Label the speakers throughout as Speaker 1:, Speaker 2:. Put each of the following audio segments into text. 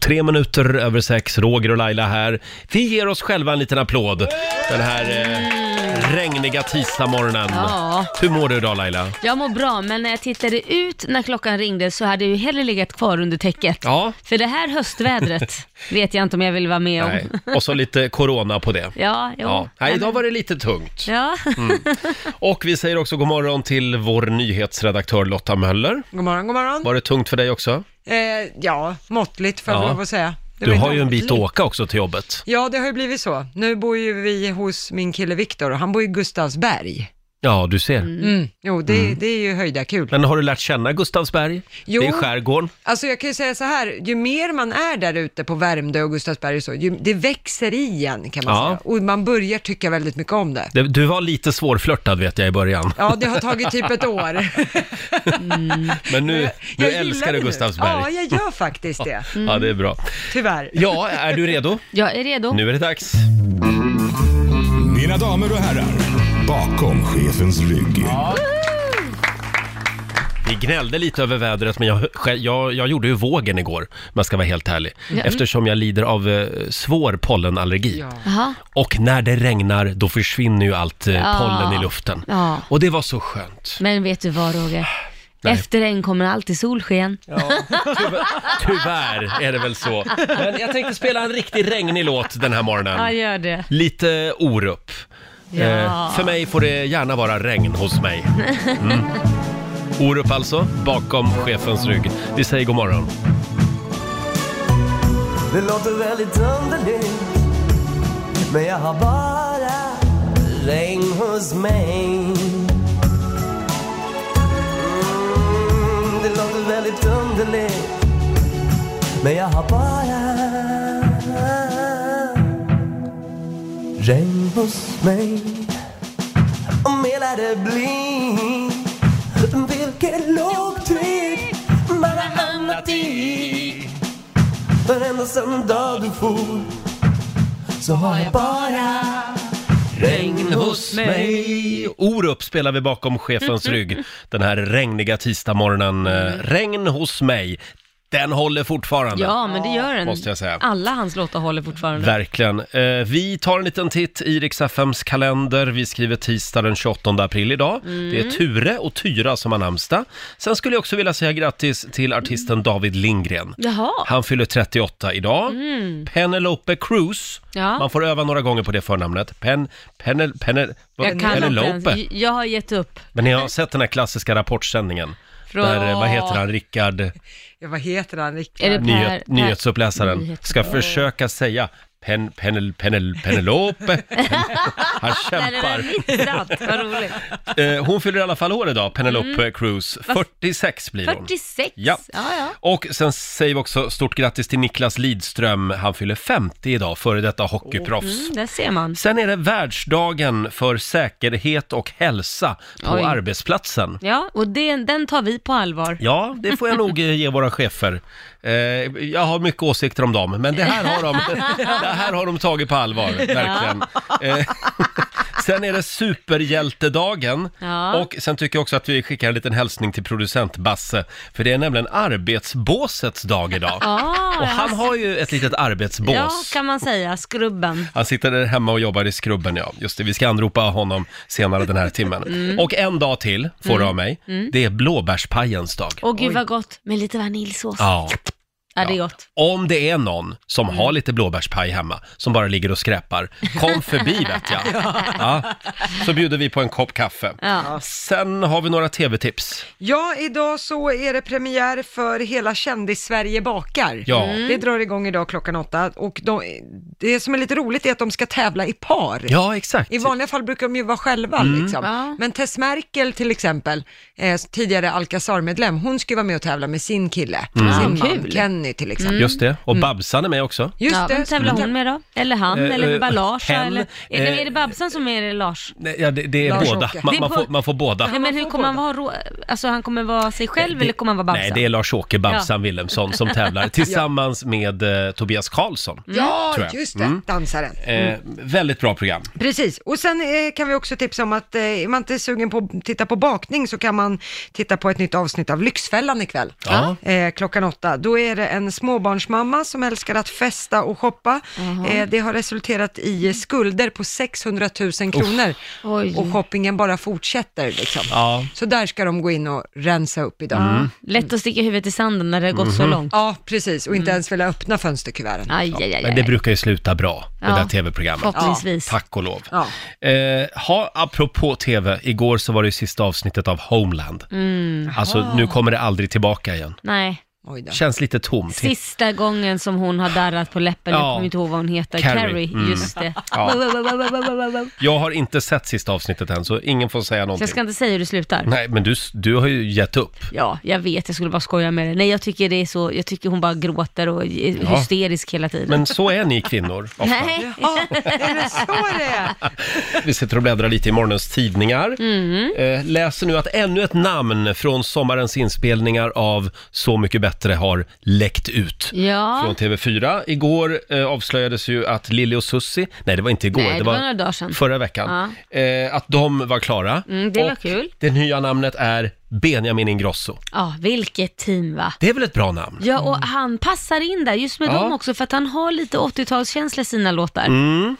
Speaker 1: Tre minuter över sex, Roger och Laila här. Vi ger oss själva en liten applåd den här
Speaker 2: Mm.
Speaker 1: eh, regniga tisdagsmorgonen.
Speaker 2: Ja.
Speaker 1: Hur mår du idag Laila?
Speaker 2: Jag mår bra, men när jag tittade ut när klockan ringde så hade jag ju hellre legat kvar under täcket.
Speaker 1: Ja.
Speaker 2: För det här höstvädret vet jag inte om jag vill vara med om.
Speaker 1: Nej. Och så lite corona på det.
Speaker 2: Ja, jo.
Speaker 1: Ja. Nej, idag var det lite tungt.
Speaker 2: Ja.
Speaker 1: Och vi säger också god morgon till vår nyhetsredaktör Lotta Möller.
Speaker 3: God morgon, god morgon.
Speaker 1: Var det tungt för dig också?
Speaker 3: Eh, ja, måttligt får jag
Speaker 1: Ja.
Speaker 3: lov att säga. Det
Speaker 1: Du
Speaker 3: var
Speaker 1: har ju en bit att
Speaker 3: måttligt.
Speaker 1: åka också till jobbet.
Speaker 3: Ja, det har ju blivit så. Nu bor ju vi hos min kille Viktor och han bor i Gustavsberg.
Speaker 1: Ja, du ser.
Speaker 3: Mm. Jo, det, det är ju höjda kul.
Speaker 1: Men har du lärt känna Gustavsberg?
Speaker 3: Jo.
Speaker 1: Det är skärgården.
Speaker 3: Alltså jag kan ju säga så här, ju mer man är där ute på Värmdö och Gustavsberg och så, ju, det växer igen kan man
Speaker 1: Ja.
Speaker 3: säga. Och man börjar tycka väldigt mycket om det.
Speaker 1: Det- Du var lite svårflörtad vet jag i början.
Speaker 3: Ja, det har tagit typ ett år.
Speaker 1: Men nu, nu
Speaker 3: gillar det
Speaker 1: älskar du
Speaker 3: nu. Ja,
Speaker 1: Gustavsberg.
Speaker 3: jag gör faktiskt det.
Speaker 1: Ja, det är bra.
Speaker 3: Tyvärr.
Speaker 1: Ja, är du redo?
Speaker 2: Jag är redo.
Speaker 1: Nu är det dags.
Speaker 4: Mina damer och herrar, bakom chefens rygg.
Speaker 1: Vi gnällde lite över vädret, men jag, själv- jag, jag gjorde ju vågen igår, om jag ska vara helt ärlig.
Speaker 2: Mm.
Speaker 1: Eftersom jag lider av eh, svår pollenallergi.
Speaker 3: Ja.
Speaker 2: Jaha.
Speaker 1: Och när det regnar, då försvinner ju allt eh,
Speaker 2: Ja.
Speaker 1: pollen i luften.
Speaker 2: Ja.
Speaker 1: Och det var så skönt.
Speaker 2: Men vet du vad Roger?
Speaker 1: Nej.
Speaker 2: Efter regn kommer alltid solsken.
Speaker 1: Tyvärr är det väl så. Men jag tänkte spela en riktigt regnig låt den här
Speaker 2: Ja,
Speaker 1: morgonen.
Speaker 2: gör det.
Speaker 1: Lite Orup.
Speaker 2: Ja.
Speaker 1: Eh, för mig får det gärna vara regn hos mig. Mm. Orup alltså, bakom chefens rygg. Vi säger god morgon.
Speaker 5: Det låter väldigt underligt Men jag har bara regn hos mig mm, Det låter väldigt underligt Men jag har bara regn hos mig Om hela det blir Vilket lågtryck man har hamnat i Varenda söndag du for så har jag bara
Speaker 1: Regn hos mig. Orup spelar vi bakom chefens rygg den här regniga tisdagsmorgonen. Eh, Regn hos mig. Den håller fortfarande.
Speaker 2: Ja, men det gör den.
Speaker 1: Måste jag säga.
Speaker 2: Alla hans låtar håller fortfarande.
Speaker 1: Verkligen. Eh, vi tar en liten titt i Rix FMs kalender. Vi skriver tisdag den 28 april idag.
Speaker 2: Mm.
Speaker 1: Det är Ture och Tyra som har namnsdag. Sen skulle jag också vilja säga grattis till artisten David Lindgren.
Speaker 2: Jaha.
Speaker 1: Han fyller 38 idag. Penelope Cruz.
Speaker 2: Mm. Ja.
Speaker 1: Man får öva några gånger på det förnamnet. Pen, penel, penel, vad-
Speaker 2: Jag kan inte ens.
Speaker 1: Penelope.
Speaker 2: J- Jag har gett upp.
Speaker 1: Men ni har sett den här klassiska Rapportsändningen.
Speaker 2: Från-
Speaker 1: Där, eh, vad heter han, Rickard,
Speaker 3: Ja, vad heter han riktigt?
Speaker 2: Är det Per,
Speaker 1: nyhet,
Speaker 2: per,
Speaker 1: nyhetsuppläsaren,
Speaker 2: Nyhets-
Speaker 1: ska försöka säga Pen, penel, penel, Penelope. Pen, han
Speaker 2: Nej, det där
Speaker 1: kämpar.
Speaker 2: är nittrat. Vad roligt.
Speaker 1: Eh, hon fyller i alla fall år idag, Penelope Cruz. 46 blir hon.
Speaker 2: 46.
Speaker 1: Ja.
Speaker 2: Mm. ja, ja.
Speaker 1: Och sen säger vi också stort grattis till Niklas Lidström. Han fyller 50 idag, före detta hockeyproffs.
Speaker 2: Mm, där ser man.
Speaker 1: Sen är det världsdagen för säkerhet och hälsa på
Speaker 2: Oj.
Speaker 1: arbetsplatsen.
Speaker 2: Ja, och det, den tar vi på allvar.
Speaker 1: Ja, det får jag nog eh, ge våra chefer. Eh, jag har mycket åsikter om dem, men det här har de, det här har de tagit på allvar, verkligen. Eh, sen är det superhjältedagen
Speaker 2: Ja.
Speaker 1: och sen tycker jag också att vi skickar en liten hälsning till producent Basse, för det är nämligen arbetsbåsets dag idag.
Speaker 2: Ah,
Speaker 1: och han
Speaker 2: ja.
Speaker 1: har ju ett litet arbetsbås.
Speaker 2: Ja, kan man säga. Skrubben.
Speaker 1: Han sitter där hemma och jobbar i skrubben, ja. Just det, vi ska anropa honom senare den här timmen.
Speaker 2: Mm.
Speaker 1: Och en dag till får du av mig. Det är blåbärspajens dag.
Speaker 2: Åh gud vad gott, med lite vaniljsås. Ja, Mm.
Speaker 1: Ja.
Speaker 2: det är gott.
Speaker 1: Om det är någon som har lite blåbärspaj hemma, som bara ligger och skräpar, kom förbi vet jag. Ja. Så bjuder vi på en kopp kaffe.
Speaker 2: Ja.
Speaker 1: Sen har vi några tv-tips.
Speaker 3: Ja, idag så är det premiär för Hela kändis-Sverige bakar.
Speaker 1: Ja. Mm.
Speaker 3: Det drar igång idag klockan åtta och de, det som är lite roligt är att de ska tävla i par.
Speaker 1: Ja, exakt. Mm.
Speaker 3: I vanliga fall brukar de ju vara själva liksom.
Speaker 2: Ja.
Speaker 3: Men Tess Merkel till exempel, eh, tidigare Alcazar-medlem, hon ska ju vara med och tävla med sin kille, sin man,
Speaker 2: Kul.
Speaker 3: Kenny till
Speaker 2: Mm.
Speaker 3: exempel.
Speaker 1: Mm. Just det. Och Babsan är med också.
Speaker 3: Just
Speaker 2: Liksom. ja,
Speaker 3: det.
Speaker 2: vem tävlar hon med då? Eller han,
Speaker 1: Eh,
Speaker 2: eller
Speaker 1: eh,
Speaker 2: bara Lars?
Speaker 1: hen,
Speaker 2: eller, är, det,
Speaker 1: eh,
Speaker 2: är det Babsan som är det Lars?
Speaker 1: Nej, Ja, det, det är
Speaker 3: Lars
Speaker 1: båda.
Speaker 3: Åke.
Speaker 1: Man,
Speaker 2: Det är
Speaker 1: man,
Speaker 2: på-
Speaker 1: får, man får båda.
Speaker 2: Nej, men hur kommer han vara? Rå... Alltså han kommer vara sig själv eller kommer han vara
Speaker 1: Nej,
Speaker 2: Babsan?
Speaker 1: Eh, det är Lars-Åke Babsan Wilhelmsson som tävlar tillsammans med eh, Tobias Karlsson.
Speaker 3: Mm.
Speaker 2: Mm.
Speaker 3: Ja,
Speaker 1: Tror jag. Mm.
Speaker 3: just det, dansaren. Mm.
Speaker 1: Eh, väldigt bra program.
Speaker 3: Precis, och sen eh, kan vi också tipsa om att eh, är man inte sugen på att titta på bakning så kan man titta på ett nytt avsnitt av Lyxfällan ikväll.
Speaker 1: Ja.
Speaker 3: Eh, klockan åtta. Då är det en småbarnsmamma som älskar att festa och shoppa. Eh, det har resulterat i skulder på 600 000 kronor
Speaker 2: Oj.
Speaker 3: och shoppingen bara fortsätter liksom.
Speaker 1: Ja. Mm.
Speaker 3: Så där ska de gå in och rensa upp idag.
Speaker 2: Lätt att sticka huvudet i sanden när det har gått
Speaker 1: Mhm.
Speaker 2: så långt. Mm.
Speaker 3: Ja, precis. Och inte ens vilja öppna fönsterkuverten.
Speaker 2: Aj, aj, aj, aj.
Speaker 1: Men det brukar ju sluta bra, det
Speaker 2: Ja.
Speaker 1: där tv-programmet.
Speaker 2: Förhoppningsvis.
Speaker 1: Tack och lov.
Speaker 3: Ja.
Speaker 1: Eh, ha, apropå tv, igår så var det ju sista avsnittet av Homeland. Alltså, nu kommer det aldrig tillbaka igen.
Speaker 2: Mm. Nej.
Speaker 3: Oj då.
Speaker 1: Känns lite tomt.
Speaker 2: Sista gången som hon har darrat på läppen,
Speaker 1: Ja.
Speaker 2: jag kommer inte ihåg vad hon heter,
Speaker 1: Carrie.
Speaker 2: Carrie,
Speaker 1: Mm.
Speaker 2: just det.
Speaker 1: Ja.
Speaker 2: Wow, wow, wow, wow, wow, wow, wow.
Speaker 1: Jag har inte sett sista avsnittet än, så ingen får säga
Speaker 2: Så
Speaker 1: någonting.
Speaker 2: jag ska inte säga hur det slutar.
Speaker 1: Nej, men du, du har ju gett upp.
Speaker 2: Ja, jag vet, jag skulle bara skoja med det. Nej, jag tycker det är så, jag tycker hon bara gråter och är
Speaker 1: Ja.
Speaker 2: hysterisk hela tiden.
Speaker 1: Men så är ni kvinnor ofta.
Speaker 2: Nej,
Speaker 3: Ja, är det så det är?
Speaker 1: Vi sitter och bläddrar lite i morgonens tidningar.
Speaker 2: Mm.
Speaker 1: Eh, läser nu att ännu ett namn från sommarens inspelningar av Så mycket bättre har läckt ut.
Speaker 2: ja,
Speaker 1: Från TV4. Igår eh, avslöjades ju att Lili och Susi, nej det var inte igår,
Speaker 2: Nej, det var några dagar sedan.
Speaker 1: förra veckan, eh, att de var klara.
Speaker 2: Mm, det var
Speaker 1: och
Speaker 2: kul.
Speaker 1: det nya namnet är Benjamin Ingrosso.
Speaker 2: ja, vilket team va?
Speaker 1: Det är väl ett bra namn?
Speaker 2: Ja, och han passar in där just med
Speaker 1: Mm. Ja.
Speaker 2: dem också för att han har lite 80-talskänsla i sina låtar. Mm.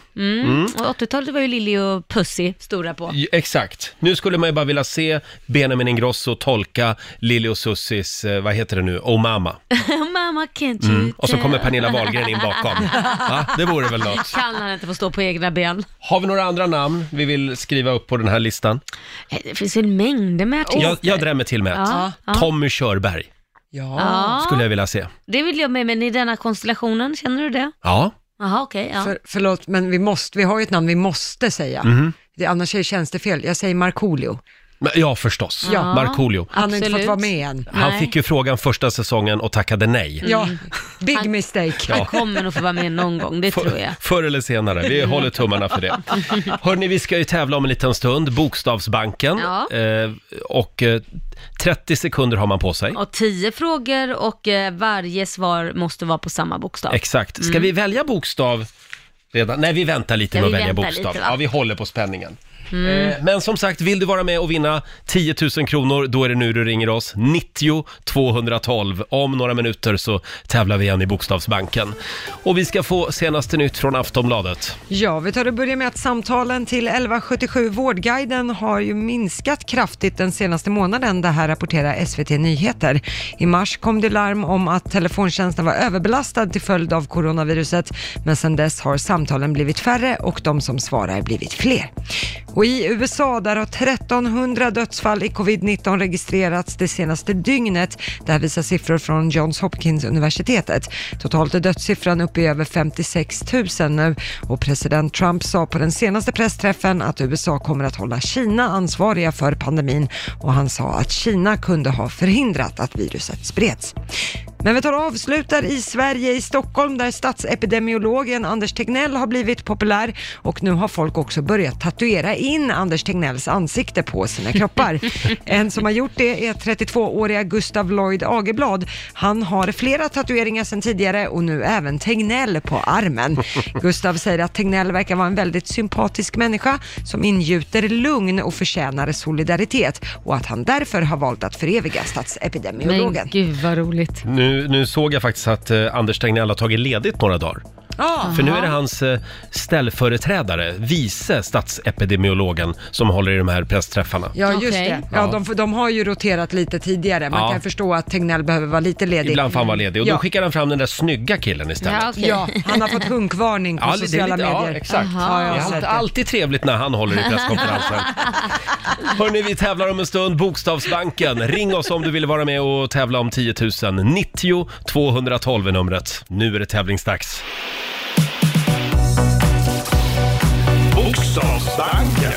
Speaker 2: Och 80-talet var ju Lili och Pussy stora på.
Speaker 1: Ja, Exakt. Nu skulle man ju bara vilja se Benjamin Ingrosso tolka Lili och Sussis, eh, vad heter det nu, Oh Mama.
Speaker 2: Mamma can't you
Speaker 1: Mm. Och så kommer
Speaker 2: tell?
Speaker 1: Pernilla Wahlgren in bakom. Va? Det vore väl något.
Speaker 2: Kan han inte få stå på egna ben?
Speaker 1: Har vi några andra namn vi vill skriva upp på den här listan?
Speaker 2: Eh, Det finns väl mängder med artister?
Speaker 1: Jag, jag drämmer till med ett.
Speaker 2: Ja,
Speaker 1: Tommy Körberg
Speaker 3: Ja,
Speaker 2: Ja,
Speaker 1: skulle jag vilja se.
Speaker 2: det vill jag med, men i denna konstellationen, känner du det?
Speaker 1: Ja,
Speaker 2: Jaha, okej. ja.
Speaker 3: för, förlåt, men vi, måste, vi har ju ett namn vi måste säga.
Speaker 1: Mhm.
Speaker 3: Det, annars är- känns det fel. Jag säger Markoolio.
Speaker 1: Men- ja förstås.
Speaker 3: Ja.
Speaker 1: Markoolio.
Speaker 3: Han har inte
Speaker 2: Absolut.
Speaker 3: fått vara med än.
Speaker 1: Han
Speaker 2: Nej.
Speaker 1: fick ju frågan första säsongen och tackade nej.
Speaker 3: Ja, big mistake.
Speaker 2: Mm. Han kommer nog få vara med någon gång, det tror jag.
Speaker 1: Förr eller senare, vi håller tummarna för det. Hörni, vi ska ju tävla om en liten stund, Bokstavsbanken.
Speaker 2: Ja.
Speaker 1: Eh, och eh, 30 sekunder har man på sig.
Speaker 2: Och tio frågor och eh, varje svar måste vara på samma bokstav.
Speaker 1: Exakt. Ska vi välja bokstav redan? Nej, vi väntar lite
Speaker 2: Mm. Ja,
Speaker 1: med att
Speaker 2: vi väntar
Speaker 1: välja bokstav.
Speaker 2: lite, va?
Speaker 1: ja, vi håller på spänningen.
Speaker 2: Mm.
Speaker 3: Mm.
Speaker 1: Eh, Men som sagt, vill du vara med och vinna 10 000 kronor, då är det nu du ringer oss. 90 212. Om några minuter så tävlar vi igen i Bokstavsbanken. Och vi ska få senaste nytt från Aftonbladet.
Speaker 3: Ja, vi tar och börjar med att samtalen till 1177 Vårdguiden har ju minskat kraftigt den senaste månaden. Det här rapporterar SVT Nyheter. I mars kom det larm om att telefontjänsten var överbelastad till följd av coronaviruset, men sedan dess har samtalen blivit färre och de som svarar blivit fler. Och i USA, där har 1300 dödsfall i covid-19 registrerats det senaste dygnet. Det här visar siffror från Johns Hopkins-universitetet. Totalt är dödssiffran uppe i över 56 000 nu och president Trump sa på den senaste pressträffen att USA kommer att hålla Kina ansvariga för pandemin och han sa att Kina kunde ha förhindrat att viruset spreds. Men vi tar och avslutar i Sverige, i Stockholm, där statsepidemiologen Anders Tegnell har blivit populär och nu har folk också börjat tatuera in Anders Tegnells ansikte på sina kroppar. En som har gjort det är 32-åriga Gustav Lloyd Ageblad. Han har flera tatueringar sedan tidigare och nu även Tegnell på armen. Gustav säger att Tegnell verkar vara en väldigt sympatisk människa som ingjuter lugn och förtjänar solidaritet och att han därför har valt att föreviga
Speaker 2: Men
Speaker 3: statsepidemiologen.
Speaker 2: gud vad roligt.
Speaker 1: Nu, nu såg jag faktiskt att eh, Anders Tegnell har tagit ledigt några dagar.
Speaker 3: Ah.
Speaker 1: För nu är det hans eh, ställföreträdare, vice statsepidemiologen, som håller i de här pressträffarna.
Speaker 3: Ja, just
Speaker 2: Okej.
Speaker 3: det. Ja,
Speaker 1: Ja.
Speaker 3: De, de har ju roterat lite tidigare. Man
Speaker 1: Ja.
Speaker 3: kan förstå att Tegnell behöver vara lite ledig.
Speaker 1: Ibland får han vara ledig och då
Speaker 3: Ja.
Speaker 1: skickar han fram den där snygga killen istället.
Speaker 2: Ja, okej.
Speaker 3: Ja, han har fått hunkvarning på
Speaker 1: Ja, det är
Speaker 3: sociala
Speaker 1: lite- ja,
Speaker 3: medier.
Speaker 1: exakt.
Speaker 3: Ja, jag
Speaker 1: Det
Speaker 3: har
Speaker 1: är
Speaker 3: sett
Speaker 1: alltid,
Speaker 3: det.
Speaker 1: alltid trevligt när han håller i presskonferensen. Hörni, vi tävlar om en stund. Bokstavsbanken. Ring oss om du vill vara med och tävla om 10 000. 90 212 är numret. Nu är det tävlingsdags.
Speaker 4: Bokstavsbanken.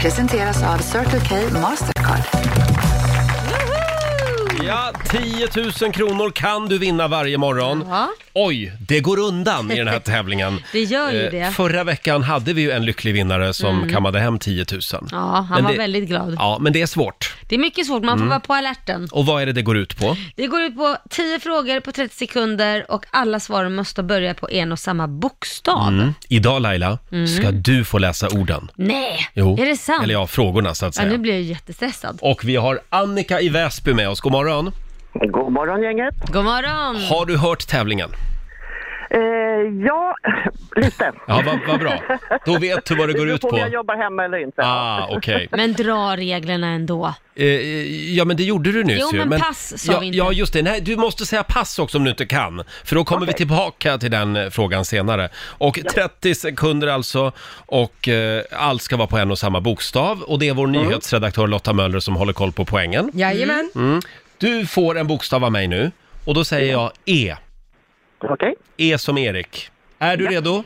Speaker 6: Presenteras av Circle K Mastercard.
Speaker 1: Ja, 10 000 kronor kan du vinna varje morgon.
Speaker 2: Ja.
Speaker 1: Oj, det går undan i den här tävlingen.
Speaker 2: Det gör ju
Speaker 1: Eh,
Speaker 2: det.
Speaker 1: Förra veckan hade vi ju en lycklig vinnare som kammade hem 10 000.
Speaker 2: Ja, han
Speaker 1: Men
Speaker 2: var
Speaker 1: det-
Speaker 2: väldigt glad.
Speaker 1: Ja, men det är svårt.
Speaker 2: Det är mycket svårt, man får vara på alerten.
Speaker 1: Och vad är det det går ut på?
Speaker 2: Det går ut på 10 frågor på 30 sekunder och alla svar måste börja på en och samma bokstav.
Speaker 1: Mm. Idag Laila, ska du få läsa orden.
Speaker 2: Nej,
Speaker 1: Jo.
Speaker 2: Mm. är det sant?
Speaker 1: Eller ja, frågorna så att
Speaker 2: ja, nu
Speaker 1: säga.
Speaker 2: blir jag jättestressad.
Speaker 1: Och vi har Annika i Väsby med oss. God morgon.
Speaker 7: God morgon gänget.
Speaker 2: God morgon!
Speaker 1: Har du hört tävlingen?
Speaker 7: Eh, ja, lite.
Speaker 1: Ja, vad vad bra. Då vet du vad det går ut
Speaker 7: på om
Speaker 1: på.
Speaker 7: jag jobbar hemma eller inte.
Speaker 1: Ah, okej.
Speaker 2: Men dra reglerna ändå.
Speaker 1: Eh, eh, ja, men det gjorde du nyss
Speaker 2: Jo,
Speaker 1: ju.
Speaker 2: men pass sa
Speaker 1: ja,
Speaker 2: vi inte.
Speaker 1: Ja, just det. Nej, du måste säga pass också om du inte kan. För då kommer vi tillbaka till den eh, frågan senare. Och 30 sekunder alltså. Och eh, allt ska vara på en och samma bokstav. Och det är vår
Speaker 2: Mm.
Speaker 1: nyhetsredaktör Lotta Möller som håller koll på poängen. Mm.
Speaker 3: Jajamän.
Speaker 1: Du får en bokstav av mig nu. Och då säger jag E.
Speaker 7: Okej,
Speaker 1: E som Erik. Är du redo?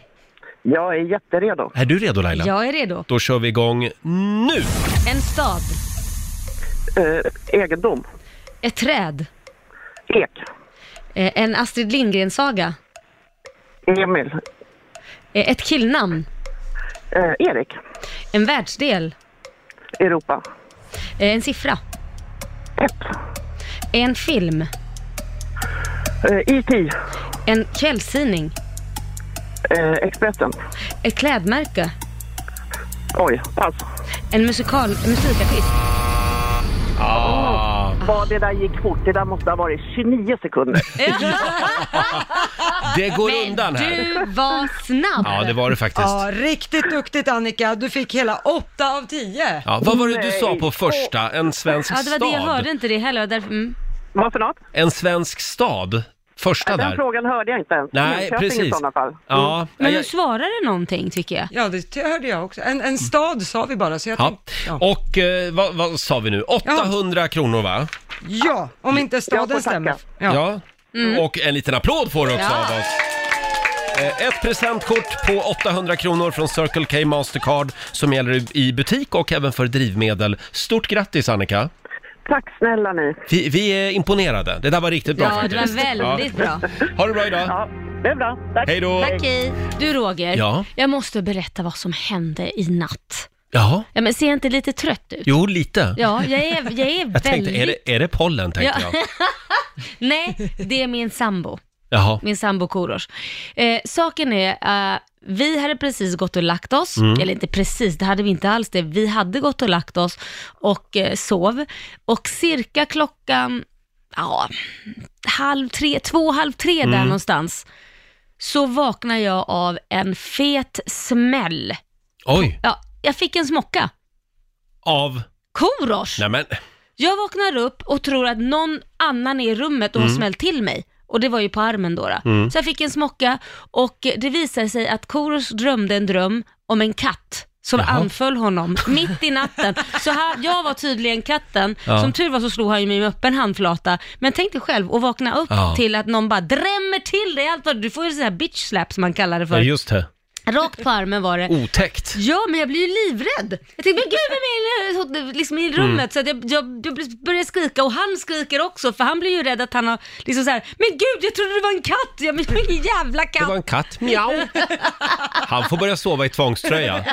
Speaker 7: jag är jätteredo.
Speaker 1: Är du redo Laila?
Speaker 2: Jag är redo.
Speaker 1: Då kör vi igång nu!
Speaker 2: En stad.
Speaker 7: Eh, egendom,
Speaker 2: Ett träd.
Speaker 7: ek,
Speaker 2: Eh, En Astrid Lindgren-saga.
Speaker 7: Emil,
Speaker 2: Eh, Ett killnamn.
Speaker 7: eh, Erik,
Speaker 2: En världsdel.
Speaker 7: Europa,
Speaker 2: Eh, En siffra.
Speaker 7: ett,
Speaker 2: En film.
Speaker 7: eh, IT,
Speaker 2: En kvällstidning.
Speaker 7: eh, Expressen.
Speaker 2: Ett klädmärke.
Speaker 7: Oj, pass.
Speaker 2: En musikal, musikartist.
Speaker 1: Ah.
Speaker 7: Vad det där gick fort. Det där måste ha varit 29 sekunder.
Speaker 1: Det går
Speaker 2: Men
Speaker 1: undan här.
Speaker 2: du var snabb!
Speaker 1: Ja, det var det faktiskt.
Speaker 3: Ja, riktigt duktigt Annika. Du fick hela 8 av 10.
Speaker 1: Ja, vad var det du sa
Speaker 7: Nej.
Speaker 1: på första? En svensk
Speaker 2: Ja, det var det jag
Speaker 1: stad?
Speaker 2: hörde inte det heller. och Därför, mm.
Speaker 7: Vad för något?
Speaker 1: En svensk stad? Första
Speaker 7: Den
Speaker 1: där?
Speaker 7: frågan hörde jag inte ens.
Speaker 1: Nej,
Speaker 7: Enköping i
Speaker 1: precis.
Speaker 7: sådana fall. Mm.
Speaker 1: Ja,
Speaker 2: Mm. Men
Speaker 1: jag-
Speaker 2: du svarade någonting tycker jag.
Speaker 3: Ja, det hörde jag också. En, en stad sa vi bara, så jag
Speaker 1: ja.
Speaker 3: tänkte... Ja.
Speaker 1: Och eh, vad, vad sa vi nu? 800 kronor va?
Speaker 3: ja, om inte staden
Speaker 7: Jag får
Speaker 3: stämmer.
Speaker 7: tacka.
Speaker 3: Ja.
Speaker 2: Mm.
Speaker 1: Och en liten applåd får du också
Speaker 2: Ja.
Speaker 1: av oss. Eh, Ett presentkort på 800 kronor från Circle K Mastercard som gäller i- i butik och även för drivmedel. Stort grattis Annika!
Speaker 7: Tack snälla ni.
Speaker 1: Vi, vi är imponerade. Det där var riktigt bra
Speaker 2: Ja, det var
Speaker 1: faktiskt.
Speaker 2: väldigt bra.
Speaker 1: Ja. Ha det bra idag!
Speaker 7: Ja, det är bra. Tack.
Speaker 1: Hej då!
Speaker 2: Tack hej. Du Roger,
Speaker 1: Ja.
Speaker 2: jag måste berätta vad som hände i natt.
Speaker 1: Jaha,
Speaker 2: Ja, men ser jag inte lite trött ut?
Speaker 1: jo lite.
Speaker 2: Ja, jag är, jag är
Speaker 1: Jag tänkte,
Speaker 2: väldigt...
Speaker 1: är det, är det pollen tänkte
Speaker 2: Ja.
Speaker 1: jag.
Speaker 2: Nej, det är min sambo.
Speaker 1: Jaha.
Speaker 2: Min sambo Korosh. Eh, saken är, eh, vi hade precis gått och lagt oss, eller inte precis, det hade vi inte alls det. Vi hade gått och lagt oss och eh, sov. Och cirka klockan, ja, halv tre, två, halv tre där någonstans, så vaknar jag av en fet smäll.
Speaker 1: Oj,
Speaker 2: Ja, jag fick en smocka.
Speaker 1: av...
Speaker 2: Korosh!
Speaker 1: Nej men,
Speaker 2: Jag vaknar upp och tror att någon annan är i rummet och har
Speaker 1: Mm.
Speaker 2: smällt till mig. Och det var ju på armen då. då. Så jag fick en smocka och det visade sig att Korosh drömde en dröm om en katt som
Speaker 1: Jaha.
Speaker 2: anföll honom mitt i natten. Så han, jag var tydligen katten.
Speaker 1: Ja.
Speaker 2: Som tur var så slog han ju mig med öppen handflata. Men tänk dig själv att vakna upp
Speaker 1: Ja.
Speaker 2: till att någon bara drämmer till dig allt vad du får ju sån här bitch slap som man kallar det
Speaker 1: ja,
Speaker 2: för.
Speaker 1: just det.
Speaker 2: Rakt på armen var det.
Speaker 1: Otäckt.
Speaker 2: Ja, men jag blir ju livrädd. Jag tänkte, men gud, vem är det liksom
Speaker 1: Mm.
Speaker 2: i rummet? Så att jag, jag, jag börjar skrika och han skriker också, för han blir ju rädd att han har liksom så här, men gud, jag trodde det var en katt. Jag men det var ingen jävla
Speaker 1: Det var
Speaker 2: katt.
Speaker 1: en katt, mjau. Han får börja sova i tvångströja.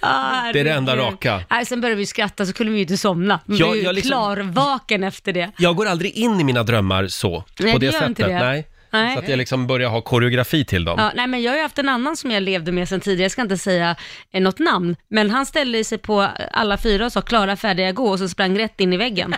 Speaker 2: Ah,
Speaker 1: det är det enda
Speaker 2: herregud.
Speaker 1: raka.
Speaker 2: Nej, sen började vi skratta så kunde vi ju inte somna. Vi
Speaker 1: Ja,
Speaker 2: var ju
Speaker 1: jag liksom-
Speaker 2: klarvaken efter det.
Speaker 1: Jag går aldrig in i mina drömmar så,
Speaker 2: Nej,
Speaker 1: på
Speaker 2: du gör
Speaker 1: det sättet.
Speaker 2: inte det.
Speaker 1: Nej.
Speaker 2: Nej.
Speaker 1: Så att jag liksom börjar ha koreografi till dem.
Speaker 2: Ja, nej, men jag har ju haft en annan som jag levde med sen tidigare, jag ska inte säga eh, något namn, men han ställde sig på eh, alla fyra och sa klara, färdiga, gå och så sprang rätt in i väggen.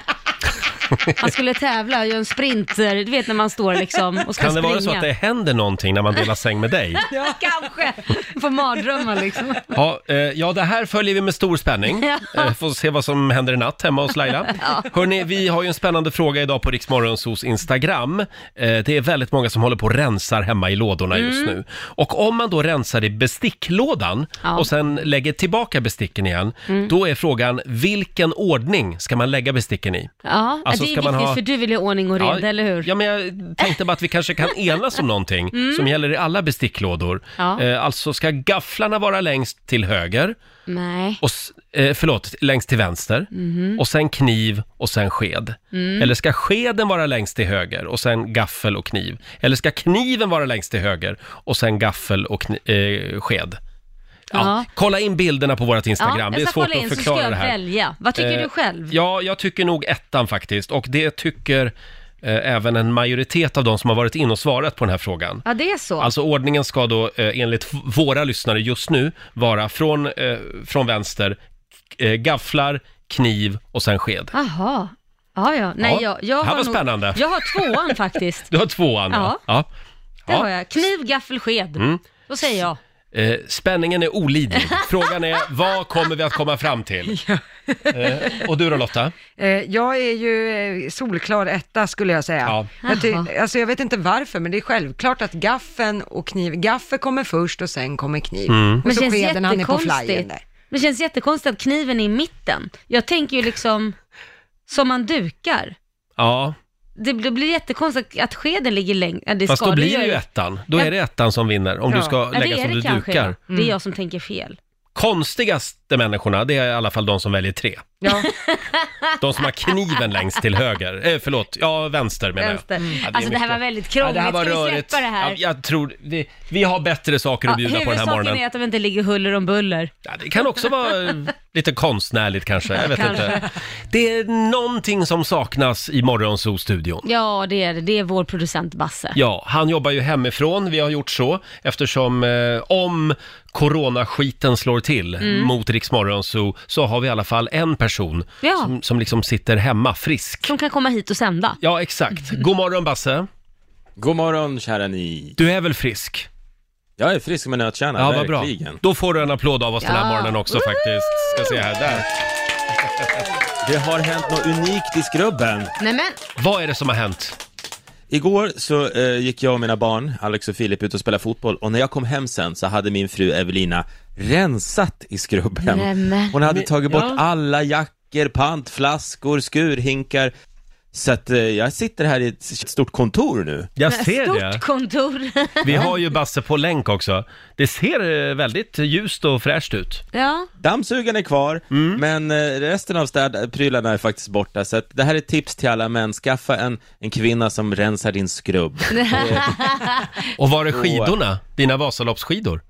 Speaker 2: Han skulle tävla och göra en sprint, eh, du vet när man står liksom och ska
Speaker 1: Kan det
Speaker 2: springa.
Speaker 1: vara så att det händer någonting när man delar säng med dig?
Speaker 2: Ja. Kanske, får mardrömmar liksom.
Speaker 1: Ja, eh, ja, det här följer vi med stor spänning.
Speaker 2: Ja.
Speaker 1: Eh, får se vad som händer i natt hemma hos Laila. Hörni, vi har ju en spännande fråga idag på Riksmorgonsos Instagram. Eh, det är väldigt många som håller på och rensar hemma i lådorna
Speaker 2: Mm.
Speaker 1: just nu. Och om man då rensar i besticklådan
Speaker 2: Ja. Mm.
Speaker 1: och sen lägger tillbaka besticken igen, då är frågan vilken ordning ska man lägga besticken i?
Speaker 2: Ja,
Speaker 1: Alltså,
Speaker 2: det är
Speaker 1: ska
Speaker 2: viktigt
Speaker 1: man ha-
Speaker 2: för du vill ju ha ordning och reda,
Speaker 1: Ja,
Speaker 2: eller hur?
Speaker 1: Ja, men jag tänkte bara att vi kanske kan enas om någonting som gäller i alla besticklådor.
Speaker 2: Mm. Ja.
Speaker 1: Eh, alltså, ska gafflarna vara längst till höger?
Speaker 2: Nej.
Speaker 1: och, s- eh, förlåt, längst till vänster
Speaker 2: Mhm.
Speaker 1: och sen kniv och sen sked.
Speaker 2: Mm.
Speaker 1: Eller ska skeden vara längst till höger och sen gaffel och kniv? Eller ska kniven vara längst till höger och sen gaffel och kni- eh, sked? Ja,
Speaker 2: Ja.
Speaker 1: Kolla in bilderna på vårt
Speaker 2: Ja,
Speaker 1: Instagram,
Speaker 2: jag
Speaker 1: det är
Speaker 2: ska
Speaker 1: svårt
Speaker 2: kolla in,
Speaker 1: att
Speaker 2: så ska
Speaker 1: förklara
Speaker 2: jag
Speaker 1: det här.
Speaker 2: Välja. Vad tycker
Speaker 1: Eh,
Speaker 2: du själv?
Speaker 1: Ja, jag tycker nog ettan faktiskt och det tycker eh, även en majoritet av de som har varit in och svarat på den här frågan.
Speaker 2: Ja, det är så.
Speaker 1: Alltså ordningen ska då eh, enligt v- våra lyssnare just nu vara från, eh, från vänster, k- eh, gafflar, kniv och sen sked.
Speaker 2: Jaha. Ja, ja. Nej,
Speaker 1: Ja,
Speaker 2: jag, jag
Speaker 1: det här
Speaker 2: har
Speaker 1: var
Speaker 2: nog-
Speaker 1: spännande.
Speaker 2: Jag har tvåan faktiskt.
Speaker 1: Du har tvåan va? Ja.
Speaker 2: Det
Speaker 1: Ja. Mm.
Speaker 2: har jag. Kniv, gaffel, sked. Då säger jag.
Speaker 1: Eh, spänningen är olidlig. Frågan är, vad kommer vi att komma fram till? Eh, och du då Lotta?
Speaker 3: Eh, jag är ju eh, solklar etta skulle jag säga.
Speaker 1: Ja.
Speaker 3: Jag, ty-
Speaker 2: Jaha.
Speaker 3: alltså, jag vet inte varför, men det är självklart att gaffen och kniv, gaffel kommer först och sen kommer kniv.
Speaker 1: Mm.
Speaker 3: Och
Speaker 2: Men
Speaker 3: så
Speaker 2: känns
Speaker 3: skeden, han är på flyen
Speaker 2: jättekonstigt.
Speaker 3: där.
Speaker 2: Det känns jättekonstigt att kniven är i mitten. Jag tänker ju liksom som man dukar.
Speaker 1: Ja,
Speaker 2: Det blir, det blir jättekonstigt att skeden ligger längre. Ja, det
Speaker 1: fast
Speaker 2: ska
Speaker 1: då
Speaker 2: det
Speaker 1: blir
Speaker 2: göra.
Speaker 1: det ju ettan. Då är det ettan som vinner om du
Speaker 3: Ja.
Speaker 1: ska
Speaker 2: Ja, det
Speaker 1: lägga
Speaker 2: är
Speaker 1: som
Speaker 2: det
Speaker 1: du
Speaker 2: kanske.
Speaker 1: dukar. Mm.
Speaker 2: ja. Mm. Det är jag som tänker fel.
Speaker 1: Konstigaste människorna, det är i alla fall de som väljer tre.
Speaker 3: Ja.
Speaker 1: De som har kniven längst till höger. Eh, förlåt, ja vänster menar jag. Mm.
Speaker 2: Vänster.
Speaker 1: Ja, är
Speaker 2: alltså det här var
Speaker 1: mycket.
Speaker 2: väldigt
Speaker 1: Ja,
Speaker 2: krångligt.
Speaker 1: det här var
Speaker 2: Ska vi
Speaker 1: rörigt.
Speaker 2: släppa det här?
Speaker 1: Ja, jag tror, vi, vi har bättre saker att
Speaker 2: Ja,
Speaker 1: bjuda på den här morgonen.
Speaker 2: är att de inte ligger huller om buller.
Speaker 1: Ja, det kan också vara eh, lite konstnärligt kanske, jag vet
Speaker 2: Kanske.
Speaker 1: inte. Det är någonting som saknas i Morgonzoo-studion.
Speaker 2: Ja, det är det. Det är vår producent Basse.
Speaker 1: Ja, han jobbar ju hemifrån, vi har gjort så, eftersom eh, om coronaskiten slår till
Speaker 2: Mm.
Speaker 1: mot Rix Morgonzoo så har vi i alla fall en person
Speaker 2: Ja.
Speaker 1: som, som liksom sitter hemma frisk.
Speaker 2: Som kan komma hit och sända.
Speaker 1: Ja, exakt.
Speaker 2: Mm.
Speaker 1: God morgon Basse,
Speaker 8: God morgon kära ni.
Speaker 1: du är väl frisk?
Speaker 8: Jag är frisk med nötkärna,
Speaker 1: Ja, vad bra.
Speaker 8: verkligen.
Speaker 1: Då får du en applåd av oss den här
Speaker 2: Ja.
Speaker 1: morgonen också faktiskt. Ska se här, där.
Speaker 8: Det har hänt något unikt i Skrubben.
Speaker 2: Nej men,
Speaker 1: Vad är det som har hänt?
Speaker 8: Igår så eh, gick jag och mina barn, Alex och Filip, ut och spelade fotboll och när jag kom hem sen så hade min fru Evelina rensat i Skrubben.
Speaker 2: Nämen.
Speaker 8: Hon hade tagit bort
Speaker 1: ja.
Speaker 8: alla jackor, pantflaskor, skurhinkar. Så att eh, jag sitter här i ett stort kontor nu.
Speaker 1: Jag ser
Speaker 2: stort
Speaker 1: det.
Speaker 2: kontor.
Speaker 1: Vi har ju Basse på länk också. Det ser eh, väldigt ljust och fräscht ut.
Speaker 2: ja.
Speaker 8: Dammsugaren är kvar,
Speaker 1: Mm.
Speaker 8: men eh, resten av städprylarna är faktiskt borta, så att det här är ett tips till alla män. Skaffa en, en kvinna som rensar din skrubb.
Speaker 1: Och var är skidorna? Dina Vasaloppsskidor?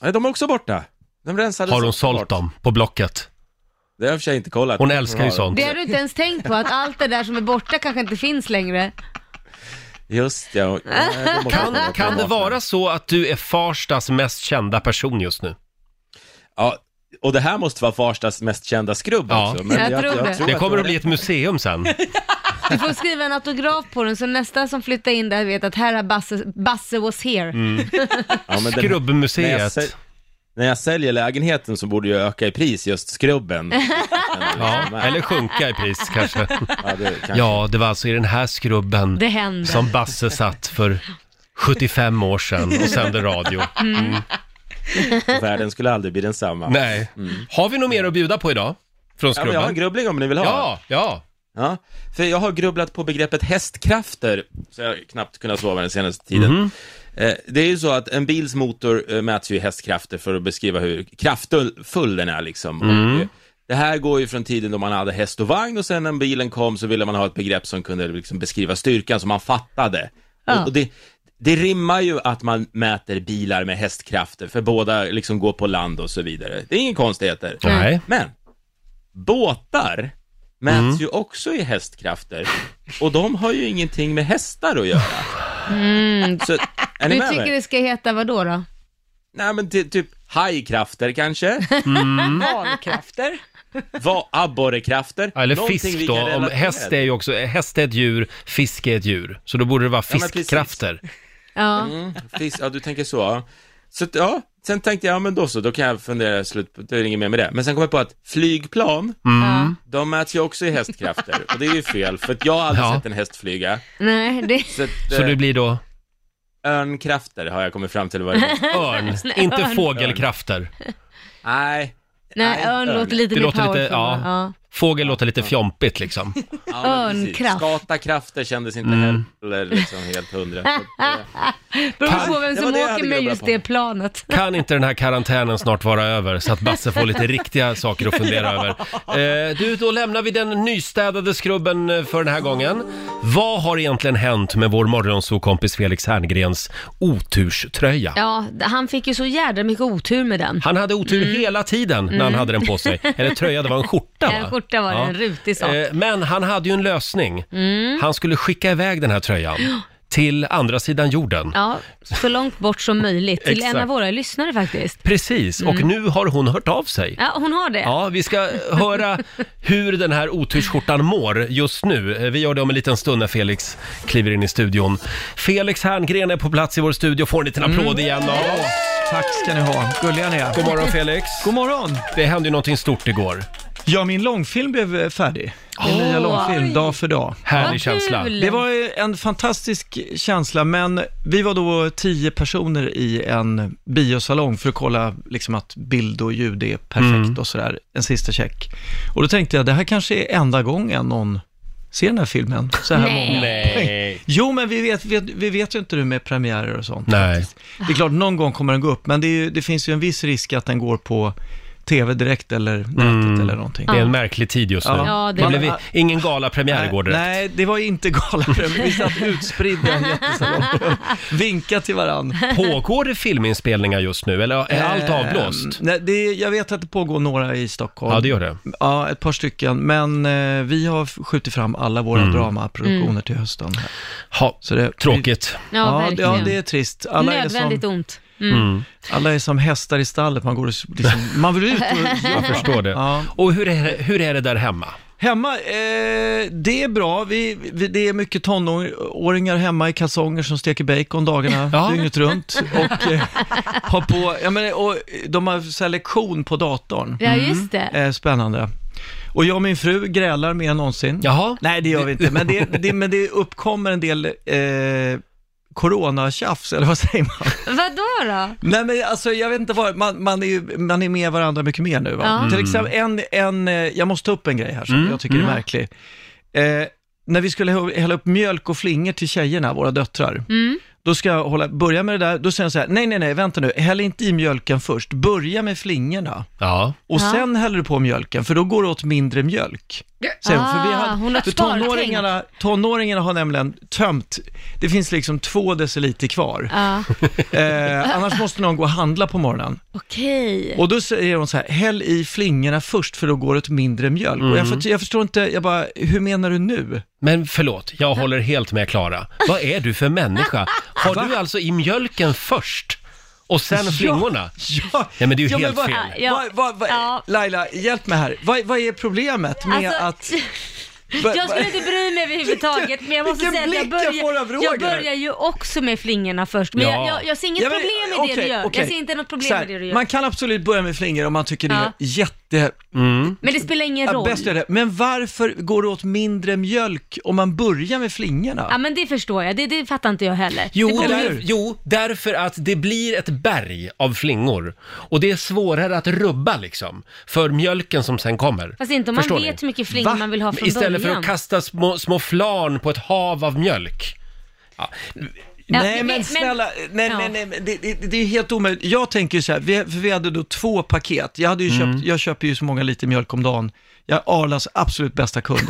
Speaker 8: Nej, de är också borta. De rensades
Speaker 1: Har hon
Speaker 8: också
Speaker 1: sålt
Speaker 8: bort.
Speaker 1: dem på Blocket?
Speaker 8: Det har jag i och för sig inte kollat.
Speaker 1: Hon älskar ju
Speaker 8: har
Speaker 1: sånt.
Speaker 2: Det har du inte ens tänkt på, att allt det där som är borta kanske inte finns längre.
Speaker 8: dem. Just ja. och- Nej, de måste
Speaker 1: Kan,
Speaker 8: kolla på
Speaker 1: kan det
Speaker 8: dem.
Speaker 1: vara så att du är Farstas mest kända person just nu?
Speaker 8: Ja, och det här måste vara Farstas mest kända skrubb
Speaker 1: Ja.
Speaker 8: också.
Speaker 2: Jag tror det.
Speaker 1: Det
Speaker 8: att
Speaker 1: kommer
Speaker 8: jag-
Speaker 1: att bli ett museum sen.
Speaker 2: Du får skriva en autograf på den, så nästa som flyttar in där vet att här har Basse, Basse was here.
Speaker 1: Mm.
Speaker 8: Ja, men den- När jag,
Speaker 1: Skrubbmuseet.
Speaker 8: säl- när jag säljer lägenheten så borde jag öka i pris just skrubben.
Speaker 1: Ja, eller sjunka i pris kanske.
Speaker 8: Ja, det kanske-
Speaker 1: Ja, det var alltså i den här skrubben
Speaker 2: Det händer.
Speaker 1: som Basse satt för 75 år sedan och sände radio.
Speaker 2: Mm.
Speaker 1: Mm.
Speaker 8: Världen skulle aldrig bli densamma. Mm.
Speaker 1: Nej. Har vi något mer att bjuda på idag? Från
Speaker 8: Ja, men jag har en
Speaker 1: skrubben?
Speaker 8: grubbling om ni vill ha.
Speaker 1: Ja, ja.
Speaker 8: ja. För jag har grubblat på begreppet hästkrafter, så jag har knappt kunnat sova den senaste tiden. Eh, Det är ju så att en bils motor eh, mäts ju i hästkrafter för att beskriva hur kraftfull den är liksom. Och, eh, det här går ju från tiden då man hade häst och vagn och sen när bilen kom så ville man ha ett begrepp som kunde liksom beskriva styrkan som man fattade.
Speaker 2: Ja.
Speaker 8: Och, och det, det rimmar ju att man mäter bilar med hästkrafter, för båda liksom går på land och så vidare. Det är ingen konstigheter.
Speaker 1: Nej.
Speaker 8: Men båtar mäts
Speaker 1: Mm.
Speaker 8: ju också i hästkrafter och de har ju ingenting med hästar att göra. Så, är ni
Speaker 2: Mm. Du
Speaker 8: med
Speaker 2: tycker
Speaker 8: mig?
Speaker 2: det ska heta vad då? då?
Speaker 8: Nej men ty, typ hajkrafter kanske,
Speaker 1: Mm.
Speaker 3: Valkrafter.
Speaker 8: Va, abborrekrafter.
Speaker 1: Ja, Eller
Speaker 8: Någonting vi
Speaker 1: fisk
Speaker 8: kan
Speaker 1: då. Om
Speaker 8: relatera
Speaker 1: häst
Speaker 8: till.
Speaker 1: är ju också, häst är ett djur, fisk är ett djur. Så då borde det vara
Speaker 8: Ja, men precis.
Speaker 1: fiskkrafter.
Speaker 2: Ja.
Speaker 8: Mm, fisk, ja du tänker så. ja. Så att, ja, sen tänkte jag, ja men då så, då kan jag fundera slut, på- det är inget mer med det. Men sen kom jag på att flygplan,
Speaker 1: Mm.
Speaker 2: ja.
Speaker 8: de mäts ju också i hästkrafter. Och det är ju fel, för att jag har aldrig
Speaker 1: Ja.
Speaker 8: sett en häst flyga.
Speaker 2: Nej, det...
Speaker 8: Så, att,
Speaker 1: Så
Speaker 8: eh,
Speaker 1: det blir då
Speaker 8: örnkrafter har jag kommit fram till vad det är.
Speaker 1: örn, inte
Speaker 2: örn.
Speaker 1: fågelkrafter.
Speaker 8: Nej.
Speaker 2: Nej, örn låter lite
Speaker 1: Det
Speaker 2: mer
Speaker 1: låter lite-
Speaker 2: powerful.
Speaker 1: ja.
Speaker 2: va? ja.
Speaker 1: Fågel låter lite fjompigt liksom.
Speaker 8: Ja, men precis.
Speaker 2: Örnkraft.
Speaker 8: Skatakrafter kändes inte
Speaker 1: Mm.
Speaker 8: heller liksom helt hundra. Så att, eh,
Speaker 2: Beror på vem
Speaker 8: Det
Speaker 2: som
Speaker 8: var det jag hade
Speaker 2: åker med
Speaker 8: grubblat
Speaker 2: just
Speaker 8: på.
Speaker 2: det planet.
Speaker 1: Kan inte den här karantänen snart vara över så att Basse får lite riktiga saker att fundera över? Eh, du, då lämnar vi den nystädade skrubben eh, för den här gången. Vad har egentligen hänt med vår morgonsokompis Felix Herngrens oturströja?
Speaker 2: Ja, han fick ju så jädra mycket otur med den.
Speaker 1: Han hade otur
Speaker 2: Mm.
Speaker 1: hela tiden när han hade den på sig. Eller tröja, det var en skjorta va?
Speaker 2: En skjorta var det, en rutig sak. Mm.
Speaker 1: Eh, Men han hade ju en lösning. Han skulle skicka iväg den här tröjan till andra sidan jorden.
Speaker 2: Ja, så långt bort som möjligt. Till en av
Speaker 1: Exakt.
Speaker 2: våra lyssnare faktiskt.
Speaker 1: Precis, och
Speaker 2: Mm.
Speaker 1: nu har hon hört av sig.
Speaker 2: Ja, hon har det.
Speaker 1: Ja, vi ska höra hur den här otursskjortan mår just nu. Eh, Vi gör det om en liten stund när Felix kliver in i studion. Felix Herngren är på plats i vår studio, får en liten
Speaker 9: Mm.
Speaker 1: applåd igen av oss.
Speaker 9: Tack ska ni ha, gulliga ni är.
Speaker 1: Mm. God morgon Felix!
Speaker 9: God morgon!
Speaker 1: Det hände ju någonting stort igår.
Speaker 9: Ja, min långfilm blev eh, färdig. Min
Speaker 2: Åh.
Speaker 9: nya långfilm, dag för dag.
Speaker 1: Härlig
Speaker 2: Vad
Speaker 1: känsla.
Speaker 2: kul.
Speaker 9: Det var eh, en fantastisk känsla, men vi var då tio personer i en biosalong för att kolla liksom att bild och ljud är perfekt
Speaker 1: Mm.
Speaker 9: och sådär, en sista check. Och då tänkte jag, det här kanske är enda gången någon ser den här filmen, så här
Speaker 2: Nej.
Speaker 9: många.
Speaker 1: Nej.
Speaker 9: Jo, men vi vet, vi, vi vet ju inte nu med premiärer och sånt.
Speaker 1: Nej.
Speaker 9: Det är klart, någon gång kommer den gå upp, men det, är ju, det finns ju en viss risk att den går på tv direkt eller nätet eller någonting.
Speaker 1: Mm. Det är en märklig tid just nu.
Speaker 9: Ja,
Speaker 2: det-
Speaker 1: det blev i- ingen galapremiär igår direkt.
Speaker 9: Nej, det var inte galapremiär. Vi satt utspridda i en jättesalong. Vinka till varandra.
Speaker 1: Pågår det filminspelningar just nu eller är
Speaker 9: Eh,
Speaker 1: allt avblåst?
Speaker 9: Ehm, nej, det, är- jag vet att det pågår några i Stockholm.
Speaker 1: Ja, det gör det.
Speaker 9: Ja, ett par stycken. Men eh, vi har skjutit fram alla våra dramaproduktioner till hösten. här.
Speaker 1: Mm. Ha,
Speaker 9: Så det,
Speaker 1: tråkigt.
Speaker 2: Mm. ja,
Speaker 9: Ja, det,
Speaker 2: verkligen.
Speaker 9: ja, det är trist. Alla är,
Speaker 2: Nödvändigt
Speaker 9: som,
Speaker 2: ont. Mm,
Speaker 1: Mm.
Speaker 9: Mm. alla är som hästar i stallet. Man, går och, s- liksom, man vill ut och
Speaker 1: Jag förstår det.
Speaker 9: Ja.
Speaker 1: Och hur är, det- hur är det där hemma?
Speaker 9: Hemma, eh, det är bra. Vi, vi, det är mycket tonåringar hemma i kalsonger som steker bacon dagarna
Speaker 1: Ja.
Speaker 9: dygnet runt. Och, eh, har på, ja, men, och de har så här lektion på datorn.
Speaker 2: Ja, just det.
Speaker 9: Eh, spännande. Och jag och min fru grälar mer än någonsin.
Speaker 1: Jaha?
Speaker 9: Nej, det gör vi inte, men det, det, men det uppkommer en del eh, coronatjafs, eller vad säger man?
Speaker 2: Vadå då?
Speaker 9: Nej men alltså jag vet inte vad, man, man, är, ju- man är med varandra mycket mer nu va?
Speaker 2: Ja. Mm.
Speaker 9: Till exempel en, en, eh, jag måste ta upp en grej här som
Speaker 1: Mm.
Speaker 9: jag tycker är märklig. Eh, när vi skulle hä- hälla upp mjölk och flingor till tjejerna, våra döttrar,
Speaker 2: Mm.
Speaker 9: då ska jag hålla, börja med det där, då säger jag så här, nej nej nej, vänta nu, häll inte i mjölken först, börja med flingorna
Speaker 1: Ja.
Speaker 9: och
Speaker 2: Ja.
Speaker 9: sen häller du på mjölken, för då går det åt mindre mjölk. Säger hon, för vi
Speaker 2: Ah,
Speaker 9: hade,
Speaker 2: hon har
Speaker 9: för
Speaker 2: spartänkt.
Speaker 9: tonåringarna, tonåringarna har nämligen tömt, det finns liksom två deciliter kvar.
Speaker 2: Ja,
Speaker 9: Eh, annars måste någon gå och handla på morgonen.
Speaker 2: okej.
Speaker 9: Och då säger hon så här, häll i flingorna först för då går det åt mindre mjölk. Och jag, för, jag förstår inte, jag bara, hur menar du nu?
Speaker 1: Mm. Men förlåt, jag håller helt med Klara. Vad är du för människa? Har du alltså i mjölken först och sen flingorna?
Speaker 9: Ja,
Speaker 1: Ja, men det är ju helt
Speaker 9: vad-
Speaker 1: fel.
Speaker 2: Ja.
Speaker 9: vad- vad- vad-
Speaker 2: Ja.
Speaker 9: Laila, hjälp mig här. Vad, vad är problemet med
Speaker 2: Alltså,
Speaker 9: att... vad-
Speaker 2: Jag
Speaker 9: vad-
Speaker 2: skulle inte bry mig överhuvudtaget, men jag måste
Speaker 9: vilken
Speaker 2: säga att jag
Speaker 9: blick jag får av
Speaker 2: börjar,
Speaker 9: Roger.
Speaker 2: jag börjar ju också med flingorna först. Men
Speaker 1: Ja.
Speaker 2: jag, jag, jag ser inget
Speaker 9: Ja, men,
Speaker 2: problem med det
Speaker 9: okej,
Speaker 2: du gör.
Speaker 9: okej.
Speaker 2: Jag ser inte något problem
Speaker 9: Så här,
Speaker 2: med det du gör.
Speaker 9: Man kan absolut börja med flingor om man tycker det är
Speaker 2: Ja.
Speaker 9: jätte...
Speaker 1: Mm.
Speaker 2: Men det spelar ingen
Speaker 9: Ja,
Speaker 2: roll.
Speaker 9: bäst är det. Men varför går det åt mindre mjölk om man börjar med flingorna?
Speaker 2: Ja men det förstår jag, det, det fattar inte jag heller. det
Speaker 1: Jo,
Speaker 2: kommer
Speaker 9: eller
Speaker 1: där,
Speaker 9: hur?
Speaker 1: jo, därför att det blir ett berg av flingor och det är svårare att rubba liksom för mjölken som sen kommer.
Speaker 2: Fast inte om man
Speaker 1: Förstår
Speaker 2: vet
Speaker 1: ni?
Speaker 2: hur mycket flingor
Speaker 9: Va?
Speaker 2: man vill ha från
Speaker 1: Istället
Speaker 2: början.
Speaker 1: för att kasta små, små flarn på ett hav av mjölk.
Speaker 2: Ja,
Speaker 9: nej
Speaker 2: men-
Speaker 9: men snälla, nej,
Speaker 2: Ja.
Speaker 9: nej, nej, men det, det, det är helt omöjligt. Jag tänker ju så här, vi, för vi hade då två paket. Jag, hade ju
Speaker 1: Mm.
Speaker 9: köpt, jag köper ju så många liter mjölk om dagen. Jag är Arlas absolut bästa kund.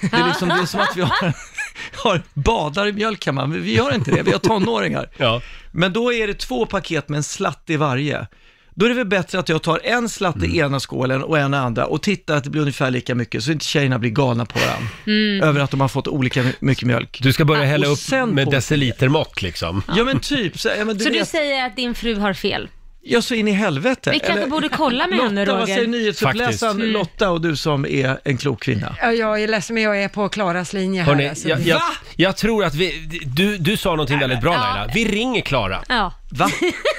Speaker 9: Det är, liksom, det är som att vi har, har badar i mjölk hemma, men vi gör inte det, vi har tonåringar.
Speaker 1: Ja.
Speaker 9: Men då är det två paket med en slatt i varje. Då är det väl bättre att jag tar en slatt
Speaker 1: Mm.
Speaker 9: i ena skålen och en i andra och tittar att det blir ungefär lika mycket så inte tjejerna blir galna på varandra
Speaker 2: Mm.
Speaker 9: över att de har fått olika my- mycket mjölk.
Speaker 1: Du ska börja hälla
Speaker 9: och
Speaker 1: upp
Speaker 9: sen
Speaker 1: med
Speaker 9: på-
Speaker 1: decilitermått liksom.
Speaker 9: Ja men typ, så, ja, men du
Speaker 2: Så du
Speaker 9: vet,
Speaker 2: säger att din fru har fel?
Speaker 9: jag så in i helvete.
Speaker 2: Vi kanske borde kolla med
Speaker 9: Lotta,
Speaker 2: henne
Speaker 9: vad
Speaker 2: Roger.
Speaker 9: säger
Speaker 1: Faktiskt.
Speaker 9: nyhetsuppläsaren Lotta och du som är en klok kvinna?
Speaker 3: Ja, jag är ledsen men jag är på Klaras linje här.
Speaker 1: Hörrni,
Speaker 3: alltså.
Speaker 1: jag, jag, jag tror att vi, du, du sa någonting väldigt bra
Speaker 2: Ja.
Speaker 1: Laila. Vi ringer Klara.
Speaker 2: Ja,
Speaker 9: Va?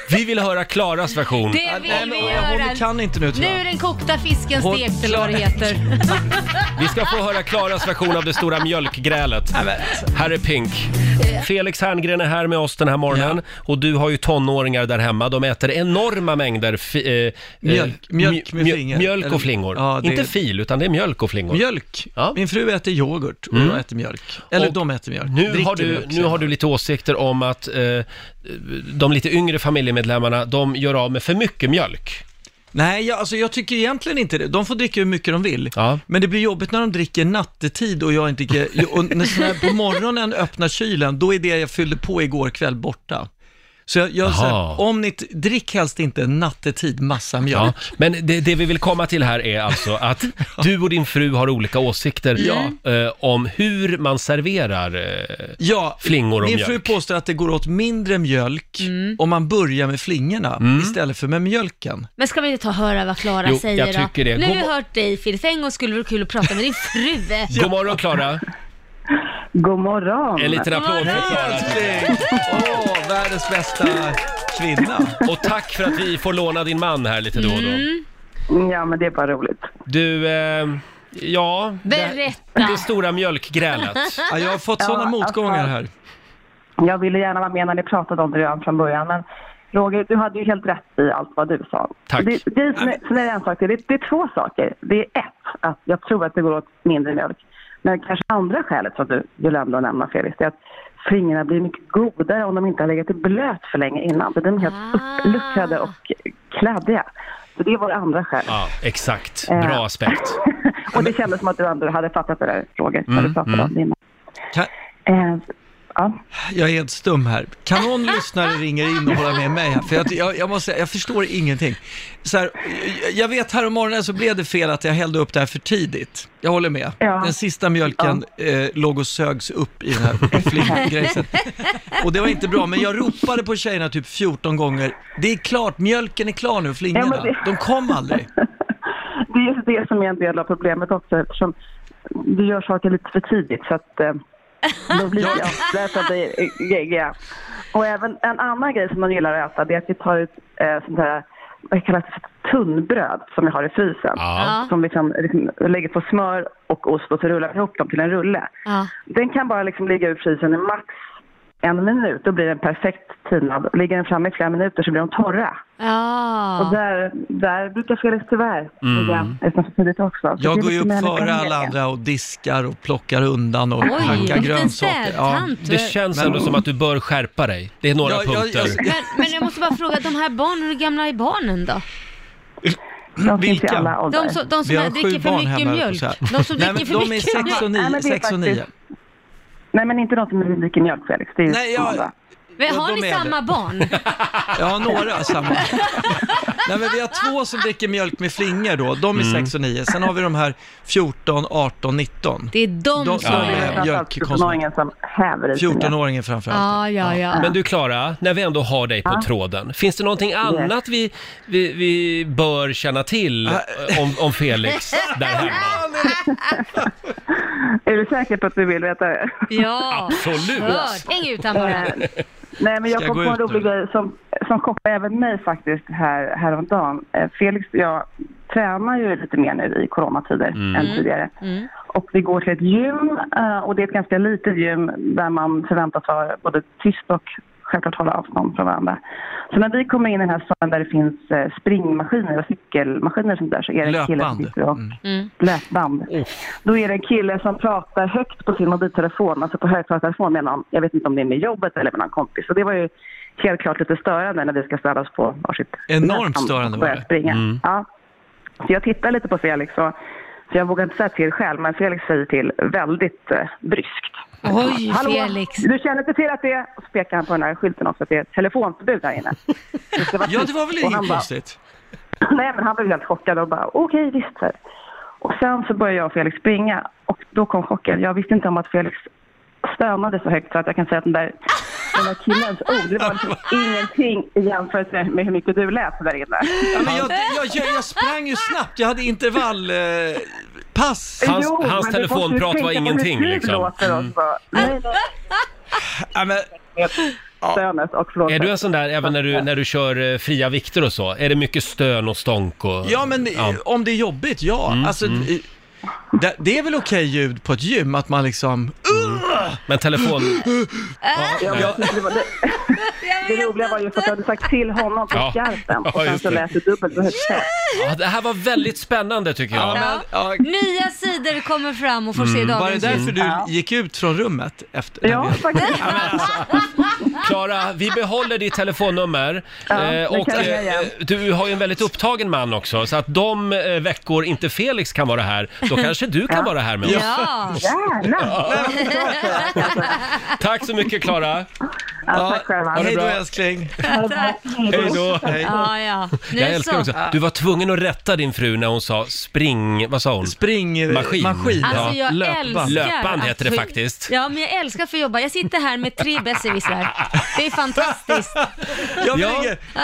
Speaker 1: Vi vill höra Klaras version.
Speaker 2: det vill vi
Speaker 9: Hon
Speaker 2: göra.
Speaker 9: kan inte nu
Speaker 2: Nu
Speaker 9: tror
Speaker 2: är
Speaker 9: jag.
Speaker 2: den kokta fisken
Speaker 9: Hon
Speaker 2: stekt eller vad det
Speaker 9: klarar-
Speaker 2: heter.
Speaker 1: Vi ska få höra Klaras version av det stora mjölkgrälet.
Speaker 9: alltså.
Speaker 1: Här är Pink. Felix Herngren är här med oss den här morgonen och du har ju tonåringar där hemma. De äter enorma mängder fi, eh,
Speaker 9: Mjölk-
Speaker 1: eh,
Speaker 9: mjölk med
Speaker 1: mjö-
Speaker 9: flingor.
Speaker 1: mjölk
Speaker 9: Eller-
Speaker 1: och flingor.
Speaker 9: Ja, det-
Speaker 1: Inte fil, utan det är mjölk och flingor.
Speaker 9: Mjölk.
Speaker 1: Ja. Mm.
Speaker 9: Min fru äter yoghurt och jag äter mjölk. Eller
Speaker 1: Och
Speaker 9: de äter mjölk.
Speaker 1: Nu
Speaker 9: Dricker
Speaker 1: har, du,
Speaker 9: mjölk,
Speaker 1: nu
Speaker 9: säger
Speaker 1: har du
Speaker 9: man.
Speaker 1: lite åsikter om att eh, de lite yngre familjemedlemmarna, de gör av med för mycket mjölk.
Speaker 9: Nej, jag, alltså, jag tycker egentligen inte det. De får dricka hur mycket de vill.
Speaker 1: Ja.
Speaker 9: Men det blir jobbigt när de dricker nattetid och jag inte... Och när sån här, på morgonen öppnar kylen, då är det jag fyllde på igår kväll borta. Så jag, jag så
Speaker 1: Aha.
Speaker 9: här, om ni, t- drick helst inte nattetid massa
Speaker 1: Ja,
Speaker 9: mjölk.
Speaker 1: men det, det vi vill komma till här är alltså att du och din fru har olika åsikter eh, om hur man serverar. eh,
Speaker 9: Ja,
Speaker 1: Flingor och
Speaker 9: min
Speaker 1: mjölk.
Speaker 9: fru påstår att det går åt mindre mjölk
Speaker 2: Mm.
Speaker 9: om Mm. man börjar med flingorna
Speaker 1: Mm.
Speaker 9: istället för med mjölken.
Speaker 2: Men ska vi inte ta och höra vad Klara
Speaker 1: Jo,
Speaker 2: säger
Speaker 1: jag
Speaker 2: då?
Speaker 1: tycker det.
Speaker 2: Nu har
Speaker 1: God
Speaker 2: vi
Speaker 1: mo-
Speaker 2: hört dig Filip, för en gång skulle det vara kul att prata med din fru.
Speaker 1: God morgon Klara!
Speaker 7: God morgon.
Speaker 1: En liten applåd för Klara.
Speaker 9: Älskling! Åh, världens bästa kvinna.
Speaker 1: Och tack för att vi får låna din man här lite då och då.
Speaker 7: Ja, men det är bara roligt.
Speaker 1: Du, eh, ja,
Speaker 2: Berätta!
Speaker 1: det stora mjölkgrälet.
Speaker 9: Ja, jag har fått sådana
Speaker 7: Ja,
Speaker 9: motgångar här.
Speaker 7: Jag ville gärna vara med när ni pratade om det redan från början, men Roger, du hade ju helt rätt i allt vad du sa.
Speaker 1: Tack.
Speaker 7: Det, det, sen är- sen är det en sak till. Det, det är två saker. Det är ett, att jag tror att det går åt mindre mjölk. Men kanske andra skälet som du, du glömde att nämna Felix, det är att flingorna blir mycket godare om de inte har legat i blöt för länge innan. Så de är helt
Speaker 2: Ah.
Speaker 7: uppluckrade och kladdiga. Så det var det andra skälet.
Speaker 1: Ja, exakt.
Speaker 7: Eh.
Speaker 1: Bra aspekt.
Speaker 7: och det kändes som att du ändå hade fattat det där Roger, när
Speaker 1: Mm.
Speaker 7: du pratade om det innan.
Speaker 9: Kan,
Speaker 7: Eh, ja.
Speaker 9: jag är helt stum här. Kan någon lyssnare ringa in och hålla med mig här? För jag, jag, jag, måste, säga, jag förstår ingenting. Så här, jag, jag vet, här om morgonen så blev det fel att jag hällde upp det här för tidigt. Jag håller med.
Speaker 7: Ja.
Speaker 9: Den sista mjölken eh, låg och sögs upp i den här flinggrejset. Och det var inte bra, men jag ropade på tjejerna typ 14 gånger. Det är klart, mjölken är klar nu, flingorna.
Speaker 7: Ja, men det-
Speaker 9: De kom aldrig.
Speaker 7: Det är just det som är en del av problemet också eftersom du gör saker lite för tidigt så att eh, då blir det avslöjat att det är geggiga. Och även en annan grej som man gillar att äta det är att vi tar ut eh, sånt här, vad kallas det för, tunnbröd som vi har i frysen.
Speaker 1: Ja.
Speaker 7: Som liksom, liksom lägger på smör och ost och så rullar vi ihop dem till en rulle.
Speaker 2: Ja.
Speaker 7: Den kan bara liksom ligga ur frysen i max en minut, då blir den perfekt tinad. Ligger den framme i flera minuter så blir de torra. Och
Speaker 2: Ja.
Speaker 7: där, där brukar Felix tyvärr ligga nästan för tidigt också. Så det
Speaker 9: Mm. Jag
Speaker 7: är
Speaker 9: går
Speaker 7: lite
Speaker 9: ju upp
Speaker 7: mer lika
Speaker 9: före alla
Speaker 7: helgen.
Speaker 9: andra och diskar och plockar undan och
Speaker 2: Oj,
Speaker 9: hackar
Speaker 2: vilken
Speaker 9: grönsaker. Ja.
Speaker 2: städtant.
Speaker 1: Det känns ändå som att du bör skärpa dig. Det är några
Speaker 9: Ja, ja,
Speaker 1: punkter.
Speaker 9: jag-
Speaker 2: Men, men jag måste bara fråga, de här barnen, hur gamla är barnen då?
Speaker 7: De finns i
Speaker 9: Vilka?
Speaker 7: alla åldrar.
Speaker 2: De som, de
Speaker 9: Vi
Speaker 2: som
Speaker 9: har
Speaker 2: dricker
Speaker 9: sju
Speaker 2: för
Speaker 9: barn
Speaker 2: mycket
Speaker 9: hemma, höll jag
Speaker 2: mjölk?
Speaker 9: på att säga.
Speaker 2: De som
Speaker 9: Nej,
Speaker 2: dricker
Speaker 9: men
Speaker 2: för
Speaker 9: de är
Speaker 2: mycket mjölk?
Speaker 9: sex och
Speaker 7: Nej,
Speaker 9: nio.
Speaker 7: men det är
Speaker 9: sex och
Speaker 7: faktiskt-
Speaker 9: nio.
Speaker 7: Nej, men inte de som är lika mjölk, Felix. Det är
Speaker 9: Nej,
Speaker 7: Nej,
Speaker 9: jag-
Speaker 2: Men
Speaker 9: Ja,
Speaker 2: har
Speaker 9: de
Speaker 2: ni
Speaker 9: är
Speaker 2: samma barn?
Speaker 9: Ja, några samma. Nej, men vi har två som dricker mjölk med flingor då, de
Speaker 7: Mm.
Speaker 9: är sex och nio. Sen har vi de här 14, 18, 19.
Speaker 2: Det är de,
Speaker 9: De-
Speaker 2: som
Speaker 9: Ja,
Speaker 2: är...
Speaker 9: ja,
Speaker 2: Ja,
Speaker 9: ja.
Speaker 7: Mjölkkonsument. som häver i sig mjölk.
Speaker 9: 14-åringen framförallt.
Speaker 2: ja, ja.
Speaker 1: Men du Klara, när vi ändå har dig på tråden, finns det någonting annat vi, vi, vi bör känna till eh,
Speaker 9: Äh.
Speaker 1: om, om Felix där hemma?
Speaker 7: Är du säker på att du vill veta det?
Speaker 2: ja.
Speaker 1: Absolut!
Speaker 2: Hört. Häng ut han bara.
Speaker 7: Eh, Nej, men jag
Speaker 9: Ska jag
Speaker 7: kom
Speaker 9: gå
Speaker 7: på en
Speaker 9: ut
Speaker 7: rolig
Speaker 9: nu?
Speaker 7: grej som, som chockade även mig faktiskt här, häromdagen. Eh, Felix och jag tränar ju lite mer nu i coronatider
Speaker 9: Mm.
Speaker 1: Mm.
Speaker 7: än tidigare. Och vi går till ett gym eh, och det är ett ganska litet gym där man förväntas vara både tyst och självklart hålla avstånd från varandra. Så när vi kommer in i den här salen där det finns eh, springmaskiner och cykelmaskiner och sånt där så är det en kille som
Speaker 9: Löpband. Mm.
Speaker 7: sitter och
Speaker 2: Mm.
Speaker 7: löpband. Då är det en kille som pratar högt på sin mobiltelefon, alltså på högtalartelefon med någon. Jag vet inte om det är med jobbet eller med någon kompis. Så det var ju helt klart lite störande när vi ska ställa oss på varsitt
Speaker 9: Enormt
Speaker 7: löpband
Speaker 9: störande
Speaker 7: och
Speaker 9: var
Speaker 7: börja
Speaker 9: det. Mm.
Speaker 7: Springa. Ja. Så jag tittar lite på Felix och så jag vågar inte säga till själv, men Felix säger till väldigt eh, bryskt.
Speaker 2: Oj, Felix.
Speaker 7: Du känner inte till att det är... Och så pekar han på den här skylten också, att det är telefonförbud här inne. Så var
Speaker 9: Ja,
Speaker 7: tyst.
Speaker 9: det var väl
Speaker 7: Och han
Speaker 9: inget
Speaker 7: bara,
Speaker 9: konstigt?
Speaker 7: Nej, men han blev helt chockad och bara okej, visst. Så här. Och sen så började jag och Felix springa och då kom chocken. Jag visste inte om att Felix stönade så högt så att jag kan säga att den där, den där killens ord, det var liksom ingenting i jämförelse med hur mycket du lät där inne.
Speaker 9: Ja, men jag, jag, jag, jag sprang ju snabbt, jag hade intervallpass. Eh, pass.
Speaker 1: Hans-
Speaker 7: Jo, men
Speaker 1: hans
Speaker 7: du måste ju
Speaker 1: telefonprat
Speaker 7: tänka på
Speaker 1: var
Speaker 7: hur
Speaker 1: ingenting,
Speaker 7: du
Speaker 1: liksom.
Speaker 7: låter
Speaker 2: Mm.
Speaker 7: också. Nej, nej,
Speaker 9: ja, men,
Speaker 7: stönet och förlåt.
Speaker 1: Är du en sån där, även när du, när du kör eh, fria vikter och så, är det mycket stön och stånk? Och,
Speaker 9: ja, men eh, om det är jobbigt, ja.
Speaker 1: Mm,
Speaker 9: alltså, eh, Det, det är väl okej ljud på ett gym, att man liksom...
Speaker 1: Mm. men telefon...
Speaker 7: Ja, men det, var, det, det roliga var ju för att jag hade sagt till honom på
Speaker 1: Ja.
Speaker 7: skarpen och
Speaker 1: Ja,
Speaker 7: sen
Speaker 1: just
Speaker 7: så
Speaker 1: det.
Speaker 7: lät det dubbelt så högt.
Speaker 1: Ja, det här var väldigt spännande tycker jag.
Speaker 9: Ja, men, ja, Mm.
Speaker 2: Nya sidor kommer fram
Speaker 1: Mm.
Speaker 2: och får se
Speaker 9: Var det
Speaker 2: dagens ljus.
Speaker 1: alltså.
Speaker 9: därför du gick ut från rummet? Efter, när
Speaker 7: Ja,
Speaker 9: vi hade-
Speaker 7: faktiskt.
Speaker 1: Klara, vi behåller ditt telefonnummer.
Speaker 7: Ja,
Speaker 1: Eh,
Speaker 7: det
Speaker 1: och
Speaker 7: kan jag
Speaker 1: eh,
Speaker 7: igen.
Speaker 1: du har ju en väldigt upptagen man också, så att de eh, veckor inte Felix kan vara här, då kanske du kan vara här med oss.
Speaker 2: Ja,
Speaker 7: Gärna!
Speaker 1: Tack så mycket Klara!
Speaker 7: Ja, tack själva.
Speaker 9: Hej då älskling.
Speaker 1: Hej då!
Speaker 2: ja, ja. Nu är
Speaker 1: Jag
Speaker 2: det
Speaker 1: älskar
Speaker 2: så.
Speaker 1: också, du var tvungen att rätta din fru när hon sa spring, vad sa hon?
Speaker 9: Spring, maskin.
Speaker 1: Maskin.
Speaker 9: maskin.
Speaker 2: Alltså jag älskar
Speaker 1: Löpband
Speaker 2: att
Speaker 1: heter det
Speaker 2: få-
Speaker 1: faktiskt.
Speaker 2: Ja, men jag älskar att få jobba. Jag sitter här med tre besserwissrar. Det är fantastiskt.
Speaker 9: Jag
Speaker 1: Ja.
Speaker 9: ja.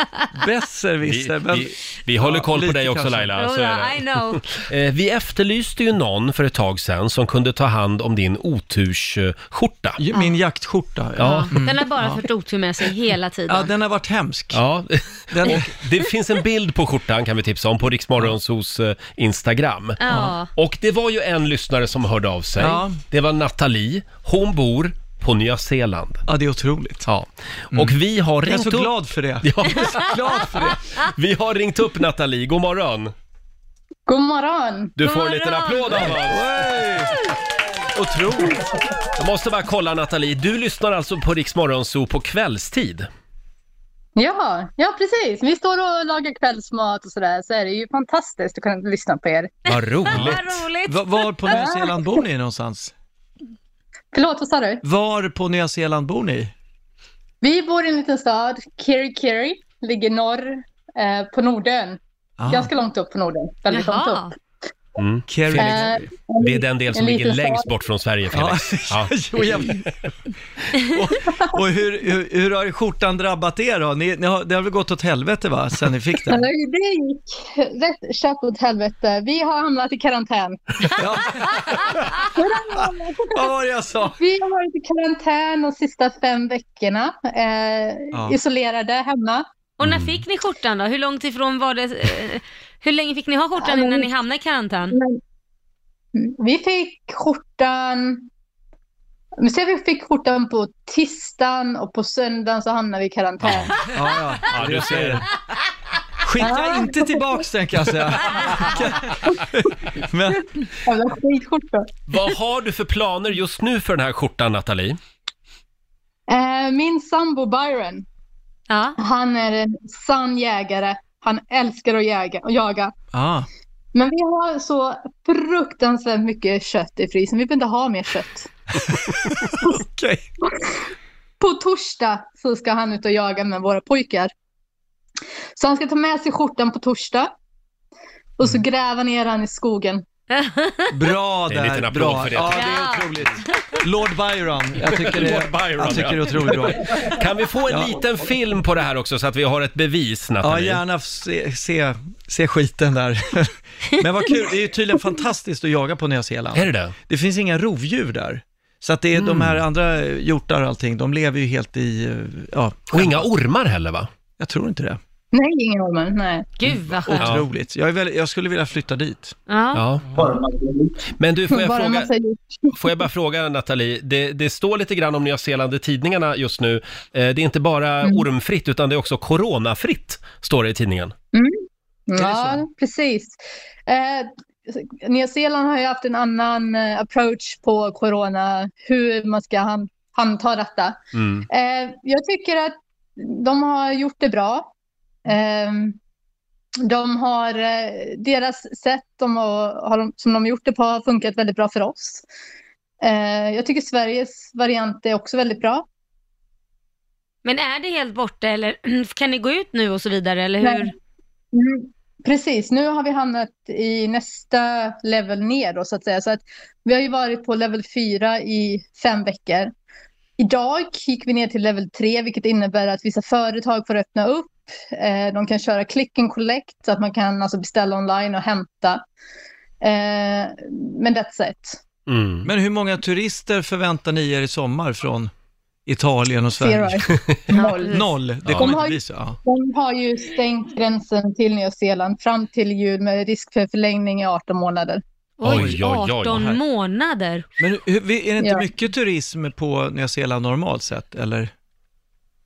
Speaker 1: Vi,
Speaker 9: Besserwisser, men
Speaker 1: vi, vi håller
Speaker 9: Ja,
Speaker 1: koll på
Speaker 9: lite
Speaker 1: dig också
Speaker 9: kanske.
Speaker 1: Laila. Så är
Speaker 2: Jodå, I
Speaker 1: det.
Speaker 2: know.
Speaker 1: Eh, Vi efterlyste ju någon för ett tag sedan som kunde ta hand om din otursskjorta.
Speaker 9: ju- min jaktskjorta. Ja.
Speaker 2: Mm. Ja. Den har bara fört otur med sig hela
Speaker 9: ja,
Speaker 2: tiden.
Speaker 9: den har varit hemsk.
Speaker 1: Ja,
Speaker 9: Den,
Speaker 1: det finns en bild på skjortan kan vi tipsa om på Riksmorgonsos eh, Instagram.
Speaker 2: Ja.
Speaker 1: Och det var ju en lyssnare som hörde av sig.
Speaker 9: Ja.
Speaker 1: Det var Nathalie. Hon bor på Nya Zeeland.
Speaker 9: ja, det är otroligt. Mm.
Speaker 1: Ja. Och vi har
Speaker 9: Jag är
Speaker 1: ringt
Speaker 9: så
Speaker 1: upp...
Speaker 9: glad för det.
Speaker 1: Ja,
Speaker 9: Glad för det.
Speaker 1: vi har ringt upp Nathalie. God morgon!
Speaker 10: God morgon!
Speaker 1: Du
Speaker 2: God
Speaker 1: får en liten
Speaker 2: morgon.
Speaker 1: applåd av oss.
Speaker 9: Otroligt.
Speaker 1: Jag måste bara kolla Nathalie, du lyssnar alltså på Riksmorgonso på kvällstid?
Speaker 10: Ja, ja precis. Vi står och lagar kvällsmat och sådär, så är det ju fantastiskt att kunna lyssna på er.
Speaker 1: Vad
Speaker 2: Vad
Speaker 1: roligt!
Speaker 2: roligt.
Speaker 9: Va- Var på Nya Zeeland bor ni någonstans?
Speaker 10: Förlåt, vad sa du?
Speaker 9: Var på Nya Zeeland bor ni?
Speaker 10: Vi bor i en liten stad, Kirikiri, ligger norr eh, på Nordön.
Speaker 9: Ah,
Speaker 10: Ganska långt upp på Nordön, väldigt långt
Speaker 2: Jaha.
Speaker 10: upp.
Speaker 1: Mm.
Speaker 9: Kerry.
Speaker 10: Eh,
Speaker 1: Det är den del som
Speaker 10: En
Speaker 1: ligger
Speaker 10: liten
Speaker 1: längst
Speaker 10: stad.
Speaker 1: bort från Sverige, Felix. Ja.
Speaker 9: Ja. jo, jag... och, och hur, hur, hur har skjortan drabbat er då? Ni, ni har, det har väl gått åt helvete va, sen ni fick den?
Speaker 10: det gick rätt käpp åt helvete. Vi har hamnat i karantän.
Speaker 9: Ja. Vad var det jag sa?
Speaker 10: Vi har varit i karantän de sista fem veckorna, eh,
Speaker 9: Ja.
Speaker 10: isolerade hemma.
Speaker 2: Och när fick ni skjortan då? Hur långt ifrån var det? eh, Hur länge fick ni ha skjortan innan ni hamnade i karantän?
Speaker 10: Eh, Vi fick skjortan... Men sen vi fick skjortan på tisdagen och på söndagen så hamnade vi i karantän.
Speaker 9: Ja, ja.
Speaker 1: Ja, du ser.
Speaker 9: Skicka inte tillbaks den kan jag säga. Men,
Speaker 10: Jävla skitskjorta.
Speaker 1: Vad har du för planer just nu för den här skjortan, Nathalie?
Speaker 10: Eh, min sambo Byron,
Speaker 2: Ja.
Speaker 10: han är en sann jägare. Han älskar att jäga, och jaga.
Speaker 9: ah,
Speaker 10: Men vi har så fruktansvärt mycket kött i frysen. Vi behöver inte ha mer kött.
Speaker 9: okej.
Speaker 10: På torsdag så ska han ut och jaga med våra pojkar. Så han ska ta med sig skjortan på torsdag. Och
Speaker 2: Mm.
Speaker 10: så gräva ner han i skogen.
Speaker 9: Bra
Speaker 1: Det
Speaker 9: där.
Speaker 1: är en liten applåd
Speaker 9: bra.
Speaker 1: för det.
Speaker 9: Ja, det
Speaker 2: Ja.
Speaker 9: är otroligt. Lord Byron. Jag tycker det,
Speaker 1: Lord Byron,
Speaker 9: jag tycker det är
Speaker 1: ja.
Speaker 9: otroligt bra.
Speaker 1: Kan vi få en
Speaker 9: Ja.
Speaker 1: liten film på det här också så att vi har ett bevis,
Speaker 9: Ja,
Speaker 1: Nathalie?
Speaker 9: gärna se, se, se skiten där. Men vad kul, det är ju tydligen fantastiskt att jaga på Nya Zeeland.
Speaker 1: Är det Mm. det?
Speaker 9: Det finns inga rovdjur där. Så att det är de här andra eh, hjortar och allting, de lever ju helt i, eh, ja,
Speaker 1: Och inga ormar heller, va?
Speaker 9: jag tror inte det.
Speaker 10: Nej, ingen ormar. Nej.
Speaker 2: Gud vad skönt.
Speaker 1: Ja.
Speaker 9: Otroligt. Jag, är väl, jag skulle vilja flytta dit.
Speaker 2: Ja.
Speaker 1: Ja. Men du, får jag
Speaker 10: Bara en
Speaker 1: fråga...
Speaker 10: massa djur.
Speaker 1: Får jag bara fråga Nathalie, det, det står lite grann om Nya Zeeland i tidningarna just nu. Eh, det är inte bara ormfritt utan det är också coronafritt, står det i tidningen.
Speaker 10: Mm. Ja, precis. Eh, Nya Zeeland har ju haft en annan eh, approach på corona, hur man ska han- handha detta.
Speaker 1: Mm.
Speaker 10: Eh, jag tycker att de har gjort det bra. Eh, de har, eh, deras sätt de har, har de, som de har gjort det på har funkat väldigt bra för oss. Eh, jag tycker Sveriges variant är också väldigt bra.
Speaker 2: Men är det helt borta eller kan ni gå ut nu och så vidare eller hur?
Speaker 10: Nej. Mm, Precis, nu har vi hamnat i nästa level ner då så att säga. Så att vi har ju varit på level 4 i fem veckor. Idag gick vi ner till level 3 vilket innebär att vissa företag får öppna upp. Eh, de kan köra click and collect så att man kan alltså beställa online och hämta. Eh, men that's it.
Speaker 1: Mm.
Speaker 9: Men hur många turister förväntar ni er i sommar från Italien och Sverige?
Speaker 10: Zero. Noll.
Speaker 9: Noll, det
Speaker 1: Ja.
Speaker 9: kommer
Speaker 10: De har
Speaker 9: inte
Speaker 10: ju-
Speaker 9: bli så. Ja.
Speaker 10: De har ju stängt gränsen till Nya Zeeland fram till jul med risk för förlängning i 18 månader.
Speaker 1: Oj,
Speaker 2: Oj,
Speaker 1: oj, oj,
Speaker 2: 18
Speaker 1: här.
Speaker 2: månader.
Speaker 9: Men hur, vi- är det inte
Speaker 10: Ja.
Speaker 9: mycket turism på Nya Zeeland normalt sett, eller?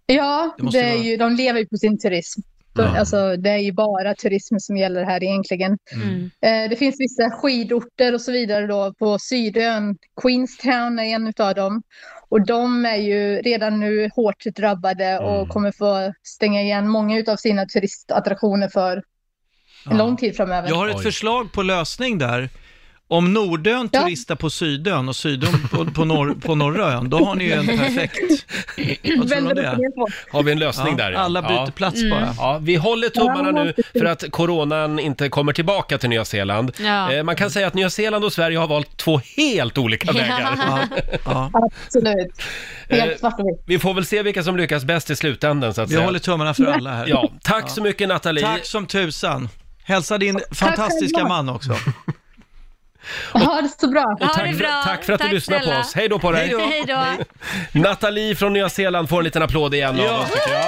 Speaker 10: Ja,
Speaker 9: Det måste
Speaker 10: det
Speaker 9: ju
Speaker 10: är
Speaker 9: vara-
Speaker 10: ju, de lever ju på sin turism. Så,
Speaker 1: Ja.
Speaker 10: Alltså, det är ju bara turism som gäller här egentligen.
Speaker 2: Mm.
Speaker 10: Eh, Det finns vissa skidorter och så vidare då på Sydön. Queenstown är en utav dem. Och de är ju redan nu hårt drabbade och
Speaker 1: Mm.
Speaker 10: kommer få stänga igen många utav sina turistattraktioner för en lång tid framöver.
Speaker 9: Jag har ett förslag på lösning där. Om Nordön turistar på Sydön och Sydön på, på, norr, på norra ön, då har ni ju en perfekt... Vad tror du om det?
Speaker 1: Har vi en lösning
Speaker 9: Ja,
Speaker 1: där? ja.
Speaker 9: alla byter
Speaker 1: ja.
Speaker 9: plats Mm. bara.
Speaker 1: Ja, vi håller tummarna
Speaker 9: Ja,
Speaker 1: nu för att coronan inte kommer tillbaka till Nya Zeeland.
Speaker 10: Ja.
Speaker 1: Eh, Man kan säga att Nya Zeeland och Sverige har valt två helt olika vägar.
Speaker 10: Absolut.
Speaker 1: Eh,
Speaker 10: Helt svartvitt.
Speaker 1: Vi får väl se vilka som lyckas bäst i slutändan så att
Speaker 9: Vi
Speaker 1: säga.
Speaker 9: håller tummarna för alla här.
Speaker 1: Ja, tack så mycket Nathalie.
Speaker 9: Tack som tusan. Hälsa din fantastiska
Speaker 10: själva.
Speaker 9: man också.
Speaker 10: Ha det så bra.
Speaker 1: Och tack, för, tack för att du lyssnade på oss. Hej då på dig.
Speaker 2: Hej då.
Speaker 1: Nathalie från Nya Zeeland får en liten applåd igen av
Speaker 9: Ja.
Speaker 1: oss tycker jag.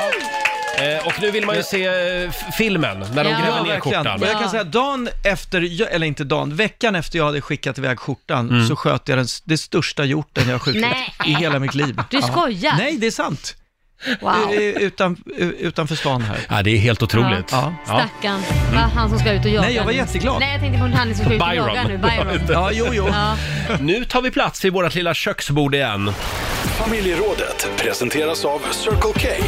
Speaker 1: Eh, Och nu vill man ju se eh, f- filmen när de
Speaker 2: Ja.
Speaker 1: gräver
Speaker 9: Ja,
Speaker 1: ner
Speaker 9: verkligen.
Speaker 1: skjortan.
Speaker 9: Och jag kan säga, dagen efter, eller inte dagen, veckan efter jag hade skickat iväg skjortan
Speaker 1: Mm.
Speaker 9: så sköt jag den, det största hjorten jag har skjutit
Speaker 2: Nej.
Speaker 9: i hela mitt liv.
Speaker 2: Du skojar.
Speaker 9: Nej, det är sant.
Speaker 2: Wow.
Speaker 9: Eh, Utan, eh, utanför stan här.
Speaker 1: Ja, det är helt otroligt.
Speaker 9: Ja.
Speaker 2: Stackarn. Va? Han som ska ut och jaga.
Speaker 9: Nej, jag var
Speaker 2: nu.
Speaker 9: jätteglad.
Speaker 2: Nej, jag tänkte på han som ska ut och
Speaker 1: Byron.
Speaker 2: jaga nu. Byron.
Speaker 9: Ja, jo, jo.
Speaker 2: Ja.
Speaker 1: Nu tar vi plats vid vårt lilla köksbord igen.
Speaker 4: Familjerådet presenteras av Circle K.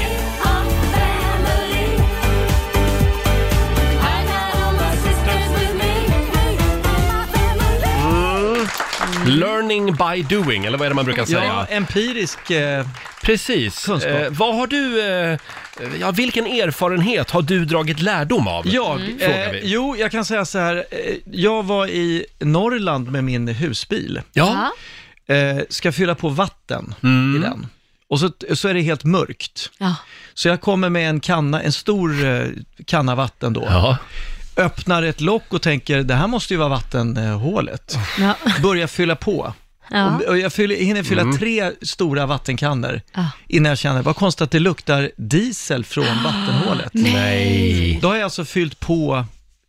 Speaker 1: Mm. Learning by doing, eller vad är det man brukar säga?
Speaker 9: Ja, empirisk... Eh,
Speaker 1: Precis.
Speaker 9: Kunskap.
Speaker 1: Eh, vad har du, eh, ja, vilken erfarenhet har du dragit lärdom av? Mm.
Speaker 9: jag?
Speaker 1: Frågar
Speaker 9: Eh,
Speaker 1: vi.
Speaker 9: jo, jag kan säga så här. Eh, jag var i Norrland med min husbil.
Speaker 1: Ja. Mm.
Speaker 9: Eh, ska fylla på vatten i den. Och så, så är det helt mörkt.
Speaker 2: Ja.
Speaker 9: Så jag kommer med en kanna, en stor eh, kanna vatten då.
Speaker 1: Ja.
Speaker 9: Öppnar ett lock och tänker, det här måste ju vara vattenhålet.
Speaker 2: Ja.
Speaker 9: Börjar fylla på.
Speaker 2: Ja.
Speaker 9: Och- Och jag fyller, hinner fylla
Speaker 1: Mm.
Speaker 9: tre stora vattenkannor
Speaker 2: Ja. Ah,
Speaker 9: innan jag känner, vad konstigt att det luktar diesel från vattenhålet.
Speaker 1: Nej.
Speaker 9: Då har jag alltså fyllt på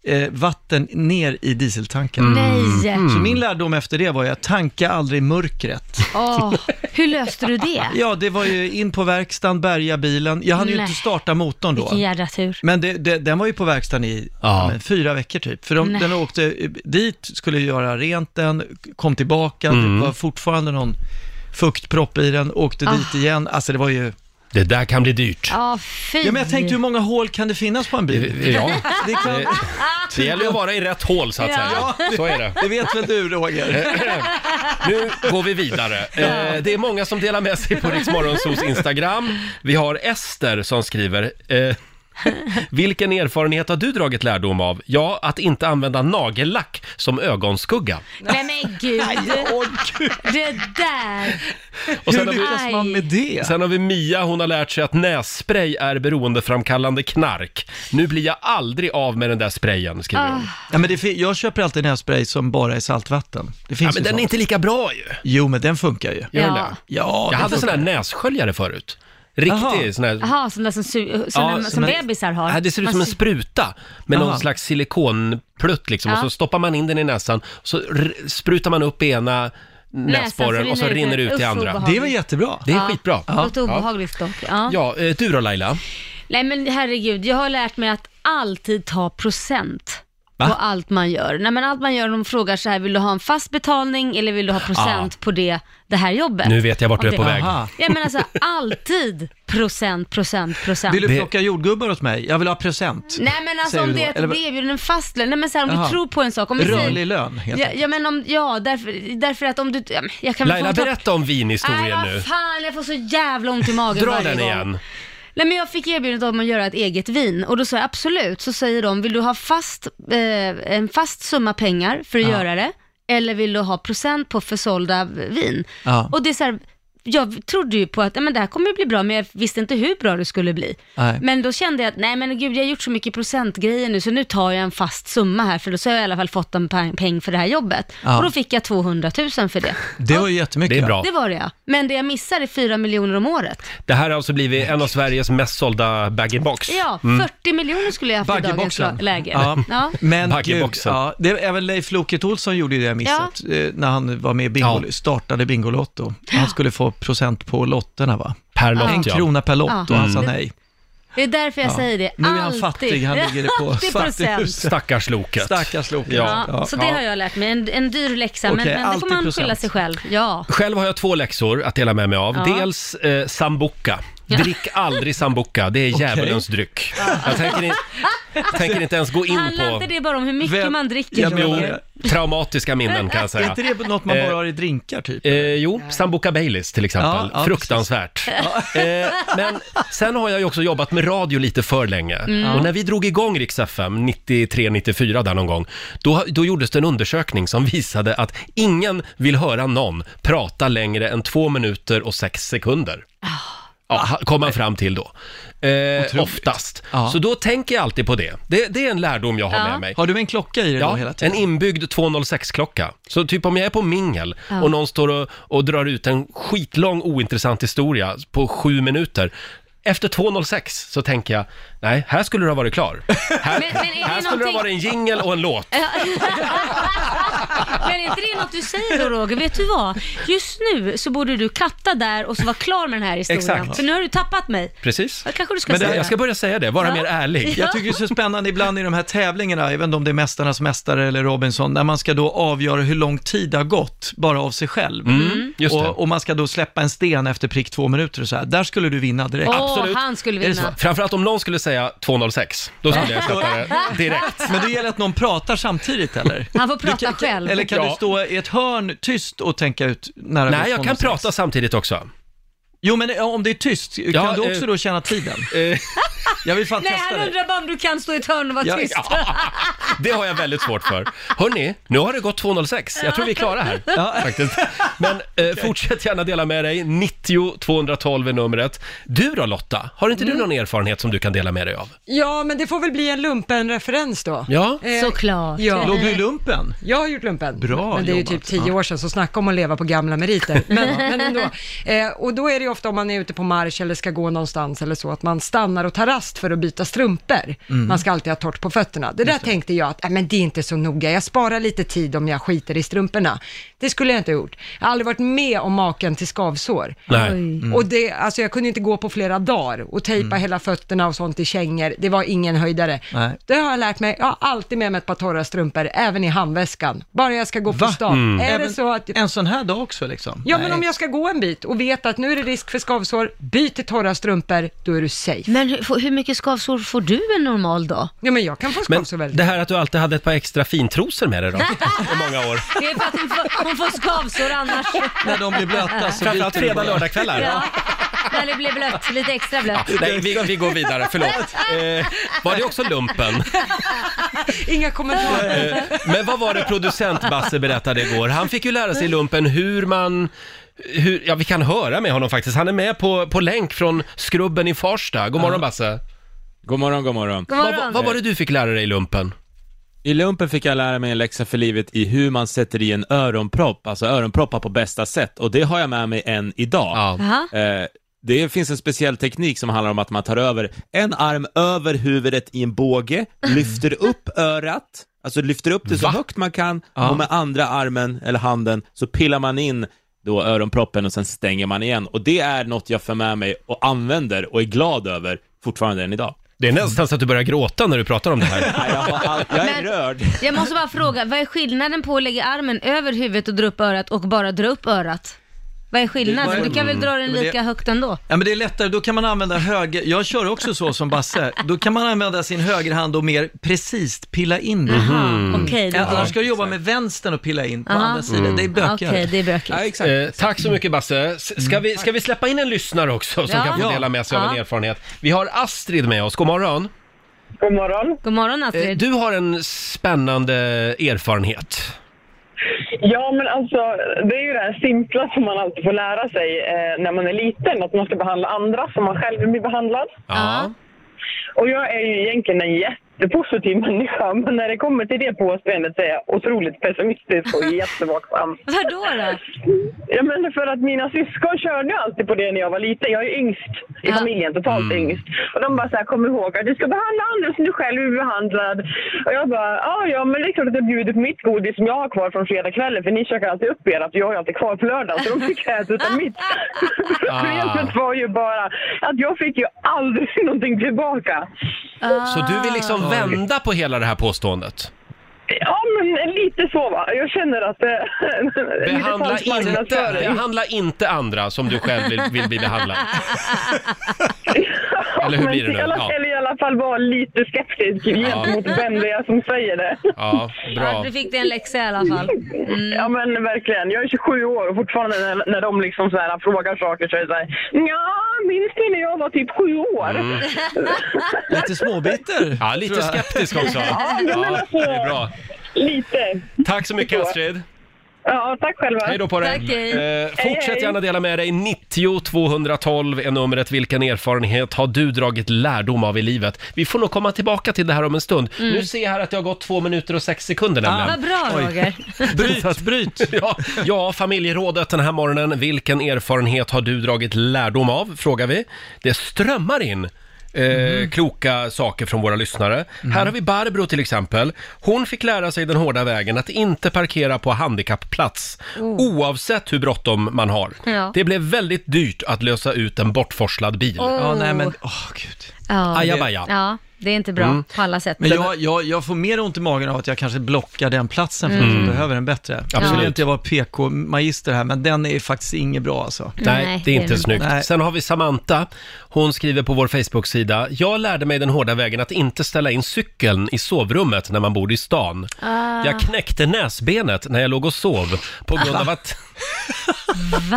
Speaker 9: eh, vatten ner i dieseltanken.
Speaker 1: Mm.
Speaker 2: Nej.
Speaker 9: Så min lärdom efter det var ju att tanka aldrig i mörkret.
Speaker 2: Åh, hur löste du det?
Speaker 9: Ja, det var ju in på verkstaden, bärga bilen. Jag hann ju
Speaker 2: Nej.
Speaker 9: inte starta motorn då.
Speaker 2: Vilken jädra tur.
Speaker 9: Men det, det, den var ju på verkstaden i
Speaker 1: Ja.
Speaker 9: ja. men, fyra veckor typ. För de,
Speaker 2: Nej.
Speaker 9: den åkte eh, dit, skulle göra rent den, kom tillbaka,
Speaker 1: Mm.
Speaker 9: det var fortfarande någon fuktpropp i den, åkte
Speaker 2: Ah.
Speaker 9: dit igen. Alltså det var ju...
Speaker 1: Det där kan bli dyrt.
Speaker 2: Ja, fy.
Speaker 9: Ja men jag tänkte hur många hål kan det finnas på en bil?
Speaker 1: Ja,
Speaker 9: Det, är klart,
Speaker 1: det, det gäller ju att vara i rätt hål så att
Speaker 2: Ja.
Speaker 1: säga. Så är det.
Speaker 9: det vet väl du Roger?
Speaker 1: Eh, Nu går vi vidare. Eh, det är många som delar med sig på Riksmorgonsos Instagram. Vi har Ester som skriver. Eh, vilken erfarenhet har du dragit lärdom av? Ja, att inte använda nagellack som ögonskugga.
Speaker 2: Nej men gud. Det där.
Speaker 1: Och sen
Speaker 9: Hur
Speaker 1: har vi-
Speaker 9: lyckas man med det?
Speaker 1: Sen har vi Mia, hon har lärt sig att nässpray är beroendeframkallande knark. Nu blir jag aldrig av med den där sprayen, skriver hon.
Speaker 9: Ja, men det, fin- jag köper alltid nässpray som bara är saltvatten. Det finns
Speaker 1: Ja,
Speaker 9: ju
Speaker 1: men den
Speaker 9: sånt.
Speaker 1: är inte lika bra ju.
Speaker 9: Jo, men den funkar ju.
Speaker 1: Gör den
Speaker 2: Ja.
Speaker 1: det?
Speaker 9: Ja,
Speaker 1: Jag
Speaker 9: den
Speaker 1: hade sån
Speaker 9: funkar.
Speaker 1: här nässköljare förut. Riktig
Speaker 9: Jaha.
Speaker 1: sån här...
Speaker 2: Jaha, sån där som, su- sån
Speaker 1: Ja,
Speaker 2: där, som,
Speaker 1: sån där-
Speaker 2: bebisar har.
Speaker 1: Nej, Äh, det ser ut
Speaker 2: Man
Speaker 1: som en
Speaker 2: sy-
Speaker 1: spruta med någon
Speaker 9: Jaha.
Speaker 1: slags silikonplutt liksom. Och
Speaker 2: Ja.
Speaker 1: så stoppar man in den i näsan, så r- sprutar man upp ena näsborren och så rinner det ut i
Speaker 2: Usch,
Speaker 1: andra.
Speaker 2: obehagligt.
Speaker 9: Det var jättebra.
Speaker 1: Det är
Speaker 2: Ja.
Speaker 1: skitbra.
Speaker 2: Något obehagligt dock. Ja.
Speaker 1: Ja, eh, du då Laila?
Speaker 2: Nej men herregud, jag har lärt mig att alltid ta procent.
Speaker 1: Va?
Speaker 2: på allt man gör. Nej men allt man gör, de frågar så här, vill du ha en fast betalning eller vill du ha procent på det, det här jobbet?
Speaker 1: Ah. Nu vet jag vart du är
Speaker 2: Okej.
Speaker 1: på väg.
Speaker 9: Aha.
Speaker 2: Ja men alltså alltid procent, procent, procent.
Speaker 9: Vill du
Speaker 1: Det-
Speaker 9: plocka jordgubbar åt mig? Jag vill ha present.
Speaker 2: Nej men alltså
Speaker 9: Säger
Speaker 2: om det
Speaker 9: du då?
Speaker 2: är
Speaker 9: Eller
Speaker 2: att
Speaker 9: vad-
Speaker 2: du blir erbjuden en fast lön, nej men så här, om
Speaker 9: Jaha.
Speaker 2: du tror på en sak, om vi
Speaker 9: Rörlig
Speaker 2: säger...
Speaker 9: lön, helt
Speaker 2: Ja,
Speaker 9: enkelt.
Speaker 2: ja men om, ja därför, därför att om du, ja, men jag kan väl
Speaker 1: Laila,
Speaker 2: få ta-
Speaker 1: berätta om
Speaker 2: Nej
Speaker 1: vinhistorien nu.
Speaker 2: vad fan, jag får så jävla ont i magen
Speaker 1: Dra
Speaker 2: varje
Speaker 1: den
Speaker 2: gång.
Speaker 1: igen.
Speaker 2: Nej men jag fick erbjudandet om att göra ett eget vin och då sa jag absolut, så säger de, vill du ha fast, eh, en fast summa pengar för att göra det eller vill du ha procent på försålda vin?
Speaker 9: Ja.
Speaker 2: Och det är så här, jag trodde ju på att ja, men det här kommer bli bra, men jag visste inte hur bra det skulle bli.
Speaker 9: Nej.
Speaker 2: Men då kände jag att, nej men gud, jag har gjort så mycket procentgrejer nu, så nu tar jag en fast summa här, för då så har jag i alla fall fått en peng- peng för det här jobbet.
Speaker 9: Ja.
Speaker 2: Och då fick jag 200 000 för det.
Speaker 9: Det var ju jättemycket.
Speaker 1: Det är bra.
Speaker 2: Det var det ja. Men det jag missar är 4 miljoner om året.
Speaker 1: Det här har alltså blivit en av Sveriges mest sålda bag-in-box. Mm.
Speaker 2: Ja, 40 miljoner skulle jag haft i dagens
Speaker 9: Baggeboxen.
Speaker 2: la- läge.
Speaker 9: Mm. Ja.
Speaker 2: Ja.
Speaker 9: Men gud,
Speaker 1: Baggeboxen.
Speaker 9: ja, det är även Leif Loket Olsson gjorde ju det misset eh, när han var med i bingo,
Speaker 1: Ja.
Speaker 9: startade Bingolotto. Han skulle få procent på lotterna va?
Speaker 1: Per
Speaker 9: En
Speaker 1: lott, ja. Mm.
Speaker 9: krona per lott
Speaker 2: Ja.
Speaker 9: och han sa nej.
Speaker 2: Det är därför jag
Speaker 9: Ja.
Speaker 2: säger det.
Speaker 9: Nu är han
Speaker 2: Alltid.
Speaker 9: fattig, han ligger på
Speaker 2: 80 procent.
Speaker 9: fattighuset.
Speaker 1: Stackars Loket.
Speaker 9: Stackars Loket.
Speaker 2: Ja, så det har jag lärt mig. En, en dyr läxa,
Speaker 1: Okej,
Speaker 2: men, men det får man
Speaker 1: 80%.
Speaker 2: skylla sig själv. Ja.
Speaker 1: Själv har jag två läxor att dela med mig av.
Speaker 2: Ja.
Speaker 1: Dels eh, sambuca.
Speaker 2: Ja.
Speaker 1: Drick aldrig sambuca, det är djävulens dryck. Jag tänker, in, tänker inte ens gå in
Speaker 2: Handlar
Speaker 1: på...
Speaker 2: inte det bara om hur mycket man dricker? Roger?
Speaker 1: jo, traumatiska minnen kan jag säga.
Speaker 9: Är inte det något man
Speaker 1: Eh,
Speaker 9: bara har i drinkar typ?
Speaker 1: Eh, jo, Sambuca Baileys till exempel.
Speaker 9: Ja, ja,
Speaker 1: Fruktansvärt. Eh, men sen har jag ju också jobbat med radio lite för länge.
Speaker 9: Mm.
Speaker 1: Och när vi drog igång Rix FM 93-94 där någon gång, då, då gjordes det en undersökning som visade att ingen vill höra någon prata längre än två minuter och sex sekunder.
Speaker 9: Ah.
Speaker 1: Ja, ha- kom man fram till då. Eh, oftast. Så då tänker jag alltid på det. Det, det är en lärdom jag har
Speaker 9: Ja.
Speaker 1: med mig.
Speaker 9: Har du en klocka i dig
Speaker 1: ja,
Speaker 9: då hela tiden?
Speaker 1: en inbyggd 206-klocka. Så typ om jag är på mingel
Speaker 9: Ja.
Speaker 1: och någon står och, och drar ut en skitlång ointressant historia på sju minuter. Efter 206 så tänker jag, nej, här skulle du ha varit klar. Här,
Speaker 2: Men- men är det
Speaker 1: här skulle det
Speaker 2: någonting-
Speaker 1: ha varit en jingel och en låt.
Speaker 2: Ja. Men är inte det något du säger då Roger? Vet du vad? Just nu så borde du katta där och så vara klar med den här historien.
Speaker 9: Exakt.
Speaker 2: För nu har du tappat mig.
Speaker 1: Precis.
Speaker 2: Ja, kanske du ska
Speaker 9: Men det-
Speaker 2: säga.
Speaker 9: jag ska
Speaker 1: börja säga det,
Speaker 9: vara
Speaker 2: Ja.
Speaker 9: mer
Speaker 2: Ja.
Speaker 9: ärlig. Jag tycker det är så spännande ibland i de här tävlingarna, jag vet inte om det är Mästarnas Mästare eller Robinson, när man ska då avgöra hur lång tid det har gått bara av sig själv.
Speaker 1: Mm, just det.
Speaker 9: och, och man ska då släppa en sten efter prick två minuter och så här. Där skulle du vinna direkt.
Speaker 2: Åh, han skulle
Speaker 9: Är det
Speaker 2: vinna.
Speaker 9: så?
Speaker 1: Framförallt om någon skulle säga 206, då skulle jag släppa det direkt.
Speaker 9: Men det gäller att någon pratar samtidigt eller?
Speaker 2: Han får
Speaker 9: Du
Speaker 2: prata
Speaker 9: kan-
Speaker 2: själv.
Speaker 9: Eller kan
Speaker 2: Ja.
Speaker 9: du stå i ett hörn tyst och tänka ut när
Speaker 1: Nej, jag kan prata samtidigt också.
Speaker 9: Jo, men eh, om det är tyst, kan
Speaker 1: Ja,
Speaker 9: du
Speaker 1: eh,
Speaker 9: också då känna tiden? jag vill fan
Speaker 2: Nej,
Speaker 9: testa
Speaker 2: han
Speaker 9: det.
Speaker 2: undrar bara om du kan stå i ett hörn och vara
Speaker 1: Ja,
Speaker 2: tyst.
Speaker 1: Det har jag väldigt svårt för. Hörni, nu har det gått 2.06. Jag tror vi är klara här.
Speaker 2: Ja.
Speaker 1: Faktiskt. Men eh, fortsätt gärna dela med dig. 90 212 är numret. Du då Lotta, har inte
Speaker 2: Mm.
Speaker 1: du någon erfarenhet som du kan dela med dig av?
Speaker 3: Ja, men det får väl bli en lumpenreferens då. Eh,
Speaker 1: Ja.
Speaker 2: Såklart.
Speaker 9: Låg du i lumpen?
Speaker 3: Jag har gjort lumpen.
Speaker 9: Bra
Speaker 3: Men det är ju
Speaker 9: jobbat.
Speaker 3: typ tio år sedan, så snacka om att leva på gamla meriter. Men, men ändå. Eh, och då är det ju ofta om man är ute på marsch eller ska gå någonstans eller så, att man stannar och tar rast för att byta strumpor.
Speaker 11: Mm.
Speaker 3: Man ska alltid ha torrt på fötterna. Det där tänkte jag att, "Nej, men det är inte så noga, jag sparar lite tid om jag skiter i strumporna. Det skulle jag inte ha gjort. Jag har aldrig varit med om maken till skavsår.
Speaker 1: Nej. Oj. Mm.
Speaker 3: Och det, alltså jag kunde inte gå på flera dagar och tejpa hela fötterna och sånt i kängor. Det var ingen höjdare.
Speaker 9: Nej.
Speaker 3: Det har jag lärt mig. Jag har alltid med mig ett par torra strumpor, även i handväskan. Bara jag ska gå på stan.
Speaker 9: Mm.
Speaker 3: Är det
Speaker 9: Även
Speaker 3: så att...
Speaker 9: En sån här dag också liksom?
Speaker 3: Ja,
Speaker 9: Nej.
Speaker 3: men om jag ska gå en bit och vet att nu är det risk för skavsår, byt till torra strumpor, då är du safe.
Speaker 2: Men hur, hur mycket skavsår får du en normal dag?
Speaker 3: Ja, men jag kan få
Speaker 1: Men
Speaker 3: skavsår väldigt
Speaker 1: det här att du alltid hade ett par extra fintrosor med dig då, i många år.
Speaker 2: Det är för att hon får, hon får skavsår annars.
Speaker 9: När de blir blöta så
Speaker 1: Framförallt
Speaker 9: biter de
Speaker 1: fredag-
Speaker 9: bara.
Speaker 1: lördagskvällar.
Speaker 2: Ja. När det blir blött, lite extra blött.
Speaker 1: Nej, vi, vi går vidare, förlåt. Eh, var det också lumpen?
Speaker 3: Inga kommentarer.
Speaker 1: Eh, Men vad var det producent Basse berättade igår? Han fick ju lära sig i lumpen hur man hur, ja, vi kan höra med honom faktiskt. Han är med på, på länk från Skrubben i Farsta. God morgon Basse.
Speaker 8: God morgon, god morgon.
Speaker 1: Vad, vad, vad var det du fick lära dig i lumpen?
Speaker 8: I lumpen fick jag lära mig en läxa för livet i hur man sätter i en öronpropp, alltså öronproppar på bästa sätt och det har jag med mig än idag.
Speaker 2: Aha.
Speaker 8: Eh, det finns en speciell teknik som handlar om att man tar över en arm över huvudet i en båge, lyfter upp örat, alltså lyfter upp det så högt man kan
Speaker 9: Ja.
Speaker 8: och med andra armen eller handen så pillar man in då öronproppen och sen stänger man igen och det är något jag för med mig och använder och är glad över fortfarande än idag.
Speaker 1: Det är nästan så att du börjar gråta när du pratar om det här.
Speaker 8: Jag är
Speaker 2: Men-
Speaker 8: rörd.
Speaker 2: Jag måste bara fråga, vad är skillnaden på att lägga armen över huvudet och dra upp örat och bara dra upp örat? Vad är skillnaden? Du kan väl dra den
Speaker 9: Mm.
Speaker 2: lika högt ändå?
Speaker 9: Ja, men det är lättare, då kan man använda höger, jag kör också så som Basse, då kan man använda sin högerhand och mer precis pilla in det.
Speaker 2: Aha, Mhm. okej, det-
Speaker 9: ja, annars ska du jobba med vänstern och pilla in på
Speaker 2: Aha.
Speaker 9: andra sidan,
Speaker 1: Mm.
Speaker 9: det är bökigare.
Speaker 2: Okej, det är bökigt. Ja,
Speaker 8: exakt.
Speaker 1: Eh, tack så mycket Basse. S- Ska vi, ska vi släppa in en lyssnare också som
Speaker 2: Ja.
Speaker 1: kan få
Speaker 2: Ja.
Speaker 1: dela med sig av en
Speaker 2: Ja.
Speaker 1: erfarenhet? Vi har Astrid med oss, god morgon.
Speaker 12: God morgon.
Speaker 2: God morgon
Speaker 1: Eh,
Speaker 2: Astrid.
Speaker 1: du har en spännande erfarenhet.
Speaker 12: Ja, men alltså det är ju det här simpla som man alltid får lära sig eh, när man är liten, att man ska behandla andra som man själv blir behandlad.
Speaker 1: Ja.
Speaker 12: Och jag är ju egentligen en jätte jättepositiv människa, men när det kommer till det påståendet så är jag otroligt pessimistisk och jättevaksam.
Speaker 2: Vadå då?
Speaker 12: Ja, men för att mina syskon körde ju alltid på det när jag var liten. Jag är ju yngst i familjen, totalt
Speaker 11: Mm.
Speaker 12: yngst. Och de bara så här, kom ihåg att du ska behandla andra som du själv är behandlad. Och jag bara, ja, ja, men det är klart att jag bjuder på mitt godis som jag har kvar från fredagskvällen, för ni käkar alltid upp ert och jag har ju alltid kvar på lördagen, så de fick äta utav mitt.
Speaker 1: Ah.
Speaker 12: Problemet var ju bara att jag fick ju aldrig någonting tillbaka.
Speaker 1: Så du vill
Speaker 12: Ah.
Speaker 1: liksom vända på hela det här påståendet?
Speaker 12: Ja, men lite så va. Jag känner att... eh, lite
Speaker 1: Behandla
Speaker 12: falsk
Speaker 1: inte,
Speaker 12: marknadsföring.
Speaker 1: behandla inte andra som du själv vill, vill bli behandlad. Eller hur
Speaker 12: Men
Speaker 1: blir det
Speaker 12: i
Speaker 1: nu?
Speaker 12: alla,
Speaker 1: Ja.
Speaker 12: Eller i alla fall vara lite skeptisk gentemot vem det är som säger det.
Speaker 1: Ja,
Speaker 2: Ja, du fick det en läxa i alla fall.
Speaker 9: Mm.
Speaker 2: Mm.
Speaker 12: Ja men verkligen. Jag är 27 år och fortfarande när, när de liksom så här frågar saker så är det så här, ja minns ni när jag var typ sju år?
Speaker 1: Mm. Lite småbitter. Ja, lite
Speaker 9: tror jag.
Speaker 1: skeptisk också.
Speaker 12: Ja, men alltså-
Speaker 1: det är bra.
Speaker 12: Lite.
Speaker 1: Tack så mycket Astrid.
Speaker 12: Ja, tack själva.
Speaker 1: Hej då på dig. Eh, fortsätt gärna dela med dig. 90 212 är numret. Vilken erfarenhet har du dragit lärdom av i livet? Vi får nog komma tillbaka till det här om en stund.
Speaker 2: Mm.
Speaker 1: Nu ser jag här att det har gått två minuter och sex sekunder nämligen.
Speaker 2: Vad bra
Speaker 1: Oj.
Speaker 2: Roger.
Speaker 1: Bryt, bryt! ja, ja, familjerådet den här morgonen. Vilken erfarenhet har du dragit lärdom av? Frågar vi. Det strömmar in. Eh, Kloka saker från våra lyssnare. Här har vi Barbro till exempel. Hon fick lära sig den hårda vägen att inte parkera på handikappplats oavsett hur bråttom man har.
Speaker 2: Ja.
Speaker 1: Det blev väldigt dyrt att lösa ut en bortforslad bil.
Speaker 2: Oh. Ja, nej, men-
Speaker 1: oh, gud.
Speaker 2: Ja.
Speaker 1: Ajabaja.
Speaker 2: Ja, det är inte bra
Speaker 9: Mm.
Speaker 2: på alla sätt.
Speaker 9: Men jag, jag, jag får mer ont i magen av att jag kanske blockar den platsen för
Speaker 2: Mm.
Speaker 9: mm. som behöver den bättre.
Speaker 1: Absolut.
Speaker 9: Nu vill inte jag vara PK-magister här, men den är faktiskt inget bra alltså.
Speaker 1: Nej, det är inte snyggt.
Speaker 9: Nej.
Speaker 1: Sen har vi Samantha. Hon skriver på vår Facebook-sida. Jag lärde mig den hårda vägen att inte ställa in cykeln i sovrummet när man bor i stan.
Speaker 2: Ah.
Speaker 1: Jag knäckte näsbenet när jag låg och sov på grund
Speaker 2: Va?
Speaker 1: av att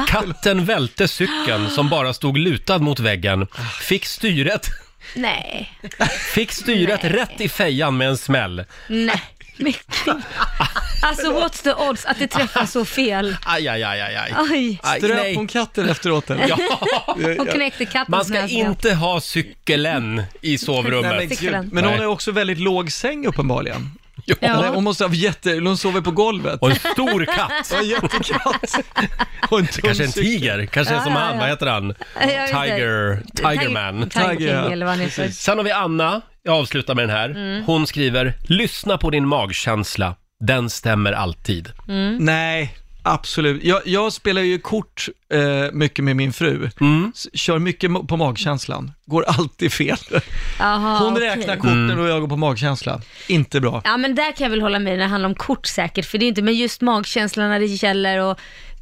Speaker 1: katten välte cykeln som bara stod lutad mot väggen. Fick styret,
Speaker 2: Nej,
Speaker 1: fick styret rätt i fejan med en smäll.
Speaker 2: nej. Men gud. Alltså what's the odds att det träffar så fel?
Speaker 1: Aj, aj, aj, aj. aj.
Speaker 2: Oj.
Speaker 1: Aj,
Speaker 9: Ströp
Speaker 1: nej.
Speaker 9: hon katten efteråt eller?
Speaker 1: Ja.
Speaker 2: Och knäckte kattens
Speaker 1: Man ska
Speaker 2: näsben.
Speaker 1: inte ha cykeln i sovrummet.
Speaker 9: Nej, men, gud. men hon har ju också väldigt låg säng uppenbarligen.
Speaker 1: Ja.
Speaker 9: Nej, Hon måste ha jätte... Hon sover på golvet.
Speaker 1: Och en stor katt.
Speaker 9: Ja, en jättekatt. Och en tung
Speaker 1: Kanske en
Speaker 9: cykel.
Speaker 1: tiger, kanske
Speaker 9: Ja,
Speaker 1: som
Speaker 9: ja,
Speaker 1: han,
Speaker 9: ja.
Speaker 1: vad heter han?
Speaker 2: Ja, jag vet
Speaker 1: Tiger,
Speaker 2: inte.
Speaker 1: Tigerman.
Speaker 2: Tiger King, eller vad han heter. Precis.
Speaker 1: Sen har vi Anna, jag avslutar med den här.
Speaker 2: Mm.
Speaker 1: Hon skriver, lyssna på din magkänsla, den stämmer alltid.
Speaker 2: Mm.
Speaker 9: Nej, absolut. Jag, jag spelar ju kort eh, mycket med min fru. S- Kör mycket mo- på magkänslan. Går alltid fel.
Speaker 2: Aha,
Speaker 9: Hon
Speaker 2: Ah, okej. Mm.
Speaker 9: räknar korten och jag går på magkänsla. Inte bra.
Speaker 2: Ja men där kan jag väl hålla med när det handlar om kort säkert, för det är inte, men just magkänslan när det gäller att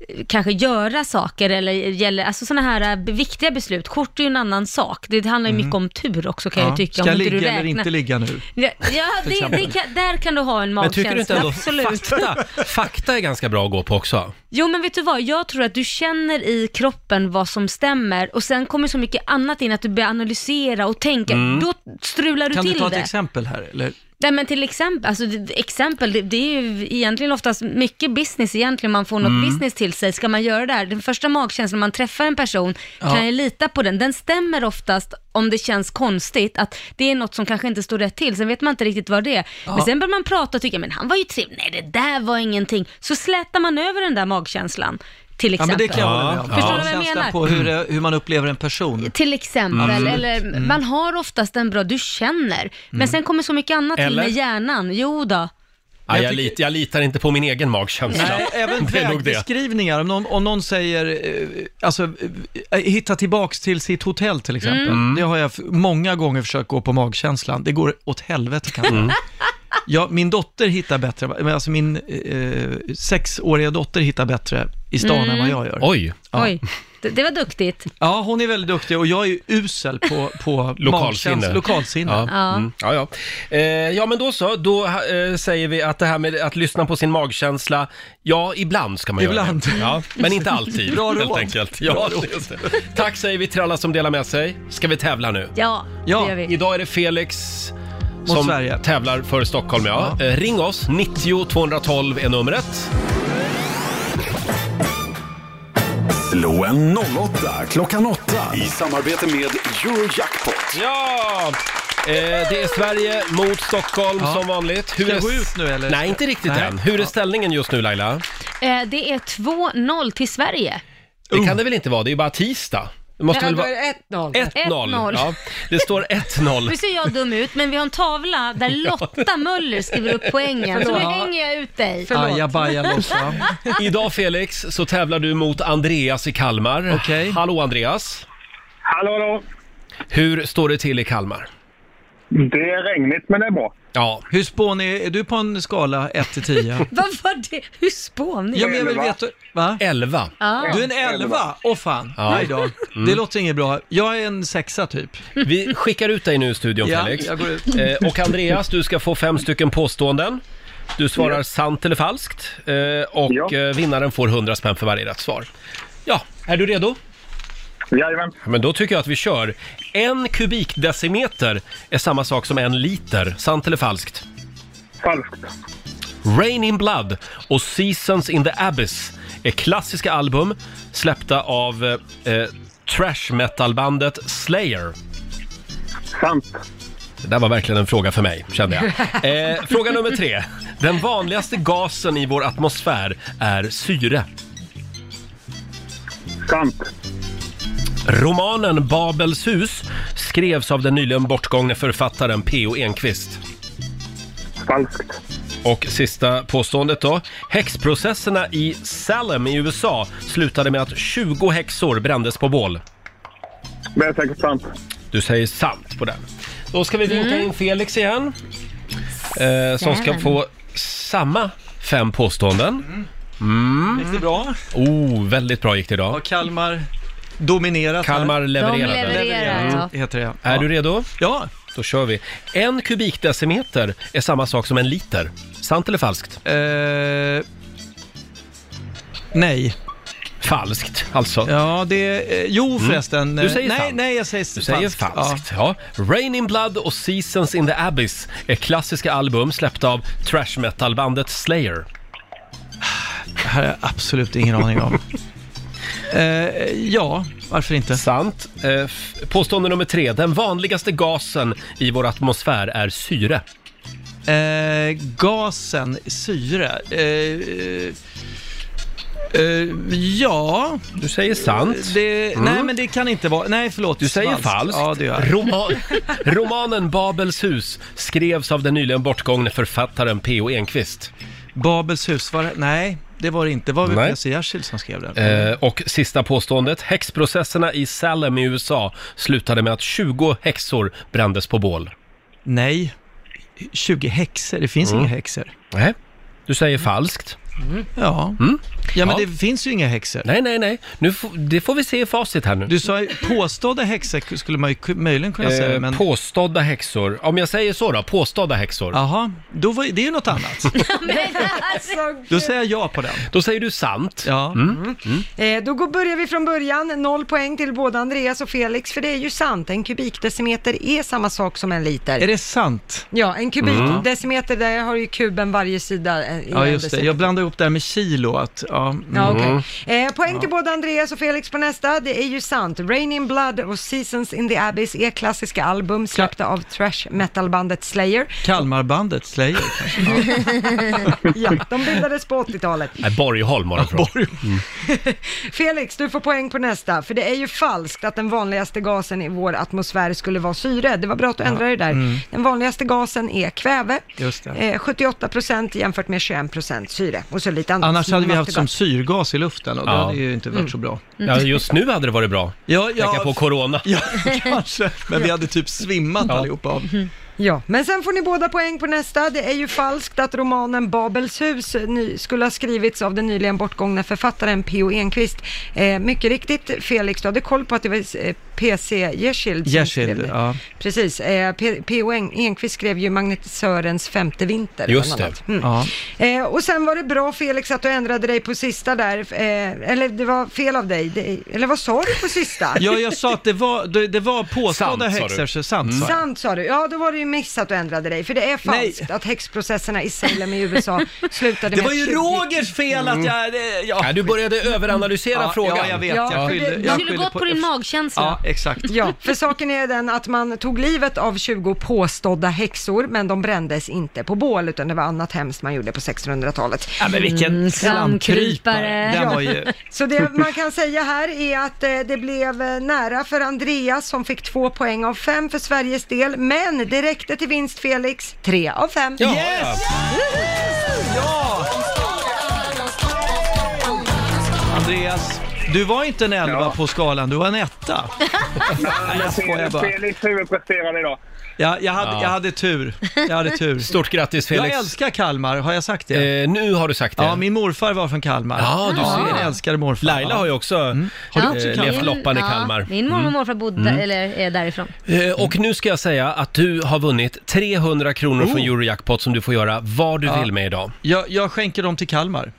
Speaker 2: eh, kanske göra saker eller gäller, alltså sådana här eh, viktiga beslut. Kort är ju en annan sak. Det handlar ju
Speaker 9: Mm.
Speaker 2: mycket om tur också kan jag ju tycka.
Speaker 9: Ska jag
Speaker 2: inte du
Speaker 9: ligga eller
Speaker 2: räknar.
Speaker 9: inte ligga nu?
Speaker 2: Ja, ja
Speaker 9: Till
Speaker 2: det, det
Speaker 9: exempel.
Speaker 2: kan, där kan du ha en
Speaker 1: Men
Speaker 2: magkänsla.
Speaker 1: tycker du inte ändå
Speaker 2: Absolut.
Speaker 1: fakta, fakta är ganska bra att gå på också?
Speaker 2: Jo men vet du vad, jag tror att du känner i kroppen vad som stämmer och sen kommer så mycket annat in att du börjar analysera och tänka,
Speaker 9: Mm.
Speaker 2: då strular du
Speaker 9: Kan
Speaker 2: till
Speaker 9: du ta ett
Speaker 2: det.
Speaker 9: exempel här? Eller?
Speaker 2: Nej men till exempel, alltså det- det- exempel, det, det är ju egentligen oftast mycket business egentligen, man får något
Speaker 9: Mm.
Speaker 2: business till sig, ska man göra det här? Den första magkänslan man träffar en person,
Speaker 9: Ja.
Speaker 2: kan jag lita på den? Den stämmer oftast om det känns konstigt, att det är något som kanske inte står rätt till, sen vet man inte riktigt vad det är.
Speaker 9: Ja.
Speaker 2: Men sen börjar man prata och tycka, men han var ju trevlig, nej det där var ingenting. Så slätar man över den där magkänslan, till
Speaker 9: Ja,
Speaker 2: exempel.
Speaker 9: men det kan jag hålla med om.
Speaker 2: Förstår du vad jag
Speaker 9: Känslan
Speaker 2: menar?
Speaker 9: på hur, det- hur man upplever en person.
Speaker 2: Till exempel,
Speaker 9: Absolut.
Speaker 2: eller
Speaker 9: Mm.
Speaker 2: man har oftast en bra, du känner, men sen kommer så mycket annat till
Speaker 1: Mm. Eller?
Speaker 2: med hjärnan. Jo då.
Speaker 1: Ja, jag, lit, jag litar inte på min egen magkänsla.
Speaker 9: Nej, även
Speaker 1: det är nog det.
Speaker 9: vägbeskrivningar. Om någon, om någon säger, eh, alltså, eh, hitta tillbaks till sitt hotell till exempel.
Speaker 1: Mm.
Speaker 9: Det har jag f- många gånger försökt gå på magkänslan. Det går åt helvete kan jag
Speaker 1: Mm.
Speaker 9: säga. Ja, min dotter hittar bättre, men alltså min eh, sexåriga dotter hittar bättre i stan
Speaker 2: Mm.
Speaker 9: än vad jag gör.
Speaker 1: Oj!
Speaker 9: Ja.
Speaker 2: Oj, det, det var duktigt.
Speaker 9: ja, hon är väldigt duktig och jag är ju usel på, på
Speaker 1: Lokalsinne.
Speaker 9: magkänsla- lokalsinne.
Speaker 1: Ja.
Speaker 2: Ja.
Speaker 1: Mm. Ja, ja. Eh, ja, men då så. Då eh, säger vi att det här med att lyssna på sin magkänsla, ja, ibland ska man
Speaker 9: Ibland.
Speaker 1: göra det. Ja, men inte alltid,
Speaker 9: Bra
Speaker 1: helt
Speaker 9: råd.
Speaker 1: enkelt. Ja,
Speaker 9: Bra råd.
Speaker 1: just det. Tack säger vi till alla som delar med sig. Ska vi tävla nu?
Speaker 2: Ja, det gör vi.
Speaker 1: Idag är det Felix som
Speaker 9: Sverige.
Speaker 1: tävlar för Stockholm. Ja. Eh, ring oss, 90 212 är numret.
Speaker 4: Slå en 08 klockan 8 i samarbete med Eurojackpot.
Speaker 1: Ja! Eh, det är Sverige mot Stockholm
Speaker 9: Ja.
Speaker 1: som vanligt.
Speaker 9: Ska jag
Speaker 1: är-
Speaker 9: gå ut nu, eller?
Speaker 1: Nej, inte riktigt
Speaker 9: Nej.
Speaker 1: än. Hur är ställningen just nu Laila?
Speaker 2: Eh, det är 2-0 till Sverige.
Speaker 1: Det
Speaker 9: Oh.
Speaker 1: kan det väl inte vara? Det är ju bara tisdag. Det måste väl vara...
Speaker 2: 1-0.
Speaker 1: 1-0. Ja, det står 1-0.
Speaker 2: Nu ser jag dum ut, men vi har en tavla där Lotta Möller skriver upp poängen. Så nu
Speaker 1: Förlåt.
Speaker 2: hänger jag ut dig.
Speaker 1: Idag Felix så tävlar du mot Andreas i Kalmar. Hallå Andreas.
Speaker 11: Hallå, hallå.
Speaker 1: Hur står det till i Kalmar?
Speaker 11: Det är regnigt, men det är bra.
Speaker 1: Ja.
Speaker 9: Hur spånig är du på en skala 1 till 10?
Speaker 2: Vad var det? Hur spånig?
Speaker 9: Ja, men jag vill veta... Va?
Speaker 1: 11.
Speaker 2: Ja.
Speaker 9: Du är en 11? Åh fan,
Speaker 1: Ja.
Speaker 9: nej då.
Speaker 1: Mm.
Speaker 9: Det låter inget bra. Jag är en sexa typ.
Speaker 1: Vi skickar ut dig nu i studion
Speaker 9: Ja,
Speaker 1: Felix.
Speaker 9: jag går ut.
Speaker 1: Eh, och Andreas, du ska få fem stycken påståenden. Du svarar
Speaker 9: Ja.
Speaker 1: sant eller falskt. Eh, och eh, vinnaren får 100 spänn för varje rätt svar. Ja, är du redo?
Speaker 11: Jajamän.
Speaker 1: Men då tycker jag att vi kör. En kubikdecimeter är samma sak som en liter. Sant eller falskt?
Speaker 11: Falskt.
Speaker 1: Rain in Blood och Seasons in the Abyss är klassiska album släppta av eh, eh, trash metal-bandet Slayer.
Speaker 11: Sant.
Speaker 1: Det där var verkligen en fråga för mig, kände jag. Eh, fråga nummer tre. Den vanligaste gasen i vår atmosfär är syre.
Speaker 11: Sant.
Speaker 1: Romanen Babels hus skrevs av den nyligen bortgångne författaren P.O. Enquist.
Speaker 11: Falskt.
Speaker 1: Och sista påståendet då. Häxprocesserna i Salem i USA slutade med att 20 häxor brändes på bål.
Speaker 11: Det är säkert sant.
Speaker 1: Du säger sant på den. Då ska vi vinka in Felix igen. Eh, som ska
Speaker 9: Jäveln.
Speaker 1: få samma fem påståenden. Mm.
Speaker 9: Gick det bra?
Speaker 1: Oh, väldigt bra gick det idag.
Speaker 9: Har Kalmar dominerat?
Speaker 1: Kalmar
Speaker 9: här?
Speaker 1: levererade. De levererar,
Speaker 9: Levererat,
Speaker 1: ja.
Speaker 9: Heter det.
Speaker 1: Är du redo?
Speaker 9: Ja.
Speaker 1: Då kör vi. En kubikdecimeter är samma sak som en liter. Sant eller falskt?
Speaker 9: Eh, nej.
Speaker 1: Falskt, alltså.
Speaker 9: Ja, det... Eh, jo
Speaker 1: Mm.
Speaker 9: förresten.
Speaker 1: Du säger
Speaker 9: nej,
Speaker 1: sant.
Speaker 9: nej, jag säger
Speaker 1: Du säger falskt. Ja. Rain in Blood och Seasons in the Abyss är klassiska album släppta av trash metal-bandet Slayer.
Speaker 9: Det här har jag absolut ingen aning om. Eh, ja, varför inte?
Speaker 1: Sant. Eh, f- påstående nummer tre. Den vanligaste gasen i vår atmosfär är syre.
Speaker 9: Eh, gasen, syre. Eh, eh, eh, ja.
Speaker 1: Du säger sant.
Speaker 9: Det,
Speaker 1: Mm.
Speaker 9: Nej, men det kan inte vara... Nej, förlåt.
Speaker 1: Du säger falskt.
Speaker 9: Ja, det gör jag.
Speaker 1: Roma- romanen Babels hus skrevs av den nyligen bortgångne författaren P.O. Enquist.
Speaker 9: Babels hus, var det? Nej, det var det inte. Var det
Speaker 1: Nej.
Speaker 9: P.C. Jersild som skrev den?
Speaker 1: Eh, och sista påståendet. Häxprocesserna i Salem i USA slutade med att 20 häxor brändes på bål.
Speaker 9: Nej. 20 häxor, det finns
Speaker 1: Mm.
Speaker 9: inga häxor.
Speaker 1: Nej, du säger falskt.
Speaker 9: Ja.
Speaker 1: Mm.
Speaker 9: Ja, men
Speaker 1: Ja.
Speaker 9: det finns ju inga häxor.
Speaker 1: Nej, nej, nej. Nu f- det får vi se i facit här nu.
Speaker 9: Du sa ju påstådda häxor skulle man ju ku- möjligen kunna säga,
Speaker 1: Eh,
Speaker 9: men...
Speaker 1: Påstådda häxor. Om jag säger så då, påstådda häxor.
Speaker 9: Jaha, då var, det är ju något annat. Då säger jag ja på den.
Speaker 1: Då säger du sant.
Speaker 9: Ja.
Speaker 1: Mm. Mm.
Speaker 3: Eh, Då går, börjar vi från början. Noll poäng till både Andreas och Felix, för det är ju sant. En kubikdecimeter är samma sak som en liter.
Speaker 9: Är det sant?
Speaker 3: Ja, en kubikdecimeter, där har ju kuben varje sida. eh, i
Speaker 9: Mm. Ja,
Speaker 3: en
Speaker 9: just det.
Speaker 3: decimeter.
Speaker 9: Jag blandar ihop det här med kilo, att... Ja, mm.
Speaker 3: Ja, okej. eh, poäng till både Andreas och Felix på nästa. Det är ju sant. Rain in Blood och Seasons in the Abyss är klassiska album släppta av thrash metalbandet Slayer.
Speaker 9: Kalmarbandet Slayer.
Speaker 3: ja, de bildades på 80-talet.
Speaker 1: Nej, Borgholm var det från. Mm.
Speaker 3: Felix, du får poäng på nästa, för det är ju falskt att den vanligaste gasen i vår atmosfär skulle vara syre. Det var bra att du ändrade dig där.
Speaker 9: Mm.
Speaker 3: Den vanligaste gasen är kväve,
Speaker 9: Just det.
Speaker 3: eh, 78 procent jämfört med 21 procent syre. Och så lite annat.
Speaker 9: Annars hade vi haft
Speaker 3: Mattegas.
Speaker 9: som syrgas i luften och det
Speaker 1: Ja.
Speaker 9: hade ju inte varit
Speaker 3: Mm.
Speaker 9: så bra.
Speaker 1: Ja, just nu hade det varit bra.
Speaker 9: Ja, ja.
Speaker 1: Tänka på corona.
Speaker 9: Ja, kanske. Men vi hade typ svimmat
Speaker 1: Ja.
Speaker 9: allihopa av.
Speaker 3: Ja, men sen får ni båda poäng på nästa. Det är ju falskt att romanen Babels hus eh, ny, skulle ha skrivits av den nyligen bortgångna författaren P.O. Enquist. Eh, mycket riktigt, Felix, du hade koll på att det var eh, P.C. Jersild som skrev
Speaker 9: Jersild,
Speaker 3: det.
Speaker 9: ja.
Speaker 3: Precis, eh, P- P.O. En- Enquist skrev ju Magnetisörens femte vinter.
Speaker 9: Just
Speaker 3: bland
Speaker 9: det.
Speaker 3: annat.
Speaker 9: Ja.
Speaker 3: Eh, och sen var det bra Felix att du ändrade dig på sista där, eh, eller det var fel av dig, det, eller vad sa du på sista?
Speaker 9: Ja, jag sa att det var, det, det var påstådda
Speaker 3: Sant, sa du.
Speaker 9: häxor, så sant sa
Speaker 3: Mm.
Speaker 9: jag.
Speaker 3: Sant sa du, ja då var det ju missat att ändra dig, för det är falskt att häxprocesserna i Salem i USA slutade
Speaker 9: Det
Speaker 3: med Mm.
Speaker 9: var ju
Speaker 3: 20
Speaker 9: Rogers fel att jag... Ja.
Speaker 1: Mm. du började överanalysera
Speaker 9: Ja,
Speaker 1: frågan.
Speaker 9: ja, jag vet. Jag Ja, skyllde- det- jag
Speaker 2: Du skulle gått på din magkänsla.
Speaker 9: exakt.
Speaker 3: Ja, för saken är den att man tog livet av 20 påstådda häxor, men de brändes inte på bål, utan det var annat hemskt man gjorde på 1600-talet.
Speaker 9: Ja, men vilken Mm, slamkrypare. Den var ju-
Speaker 3: Så det man kan säga här är att eh, det blev eh, nära för Andreas som fick två poäng av fem för Sveriges del, men det räckte till vinst Felix, tre av fem.
Speaker 9: Yes! Ja! Andreas, du var inte en elva på skalan, du var en etta. Nej, jag skojar bara.
Speaker 11: Felix huvudpresterade idag.
Speaker 9: Jag, jag, hade,
Speaker 11: Ja.
Speaker 9: jag hade tur. Jag hade tur.
Speaker 1: Stort grattis Felix. Eh,
Speaker 9: Jag älskar Kalmar, har jag sagt det?
Speaker 1: nu har du sagt det.
Speaker 9: Ja, min morfar var från Kalmar.
Speaker 1: Ja, du ser.
Speaker 9: Jag älskade morfar.
Speaker 1: Laila har ju också mm.
Speaker 9: Har du också Kalmar?
Speaker 1: levt loppan i Kalmar.
Speaker 2: Min mormor och morfar bodde,
Speaker 1: Mm.
Speaker 2: eller är därifrån.
Speaker 1: Eh, Och nu ska jag säga att du har vunnit 300 kronor från
Speaker 9: Mm. Oh.
Speaker 1: Eurojackpot som du får göra vad du
Speaker 9: Ja.
Speaker 1: vill med idag.
Speaker 9: Jag, jag skänker dem till Kalmar.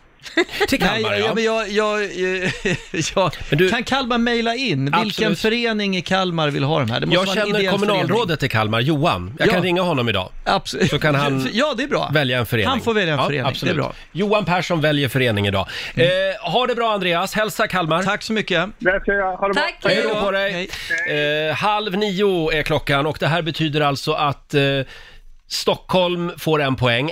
Speaker 1: Till Kalmar,
Speaker 9: Nej,
Speaker 1: ja.
Speaker 9: ja. Men jag, jag, eh, jag, Kan Kalmar mejla in vilken
Speaker 1: Absolut.
Speaker 9: förening i Kalmar vill ha de här? Det måste
Speaker 1: Jag
Speaker 9: vara en
Speaker 1: känner
Speaker 9: ideell förening.
Speaker 1: kommunalrådet i Kalmar, Johan. Jag
Speaker 9: Ja.
Speaker 1: kan ringa honom idag.
Speaker 9: Absolut.
Speaker 1: Så kan han
Speaker 9: Ja, det är bra.
Speaker 1: välja en förening.
Speaker 9: Han får välja en
Speaker 1: ja,
Speaker 9: förening,
Speaker 1: Absolut.
Speaker 9: det är bra. Mm.
Speaker 1: Johan Persson väljer förening idag. Eh, ha det bra Andreas, hälsa Kalmar.
Speaker 9: Tack så mycket.
Speaker 11: Det ska jag. Ha det
Speaker 1: Tack, hej då på dig. Eh, halv nio är klockan och det här betyder alltså att eh, Stockholm får en poäng.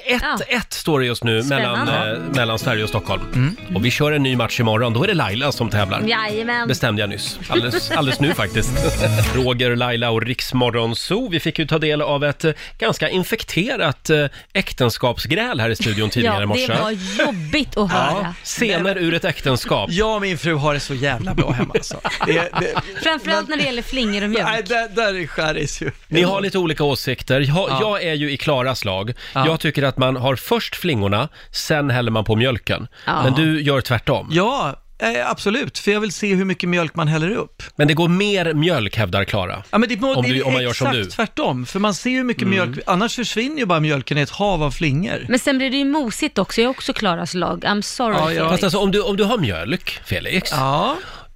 Speaker 1: 1-1 står det just nu mellan,
Speaker 2: Spännande.
Speaker 1: eh, mellan Sverige och Stockholm.
Speaker 9: Mm.
Speaker 1: Och vi kör en ny match imorgon, då är det Laila som tävlar.
Speaker 2: Jajamän.
Speaker 1: Bestämde jag nyss. Alldeles, alldeles nu faktiskt. Roger, Laila och Riksmorgon Zoo. Vi fick ju ta del av ett eh, ganska infekterat eh, äktenskapsgräl här i studion tidigare i
Speaker 2: ja,
Speaker 1: morse.
Speaker 2: det var jobbigt att höra.
Speaker 1: Scener ur ett äktenskap.
Speaker 9: Jag och min fru har det så jävla bra hemma alltså. Det, det,
Speaker 2: Framförallt när det gäller flingor och mjölk.
Speaker 9: nej, där, där skärs ju.
Speaker 1: Ni har lite olika åsikter. Jag,
Speaker 9: Ja.
Speaker 1: jag är ju i Klaras lag.
Speaker 9: Ja.
Speaker 1: Jag tycker att man har först flingorna, sen häller man på mjölken. Men du gör tvärtom.
Speaker 9: Ja, eh, absolut. För jag vill se hur mycket mjölk man häller upp.
Speaker 1: Men det går mer mjölk hävdar Klara.
Speaker 9: Ja, men det må,
Speaker 1: om,
Speaker 9: det
Speaker 1: du,
Speaker 9: är
Speaker 1: om man gör som
Speaker 9: exakt
Speaker 1: du. Mm.
Speaker 9: tvärtom. För man ser ju hur mycket mjölk, annars försvinner ju bara mjölken i ett hav av flingor.
Speaker 2: Men sen blir det ju mosigt också. Jag är också Klaras lag. I'm sorry Felix.
Speaker 1: Fast alltså om du, om du har mjölk, Felix,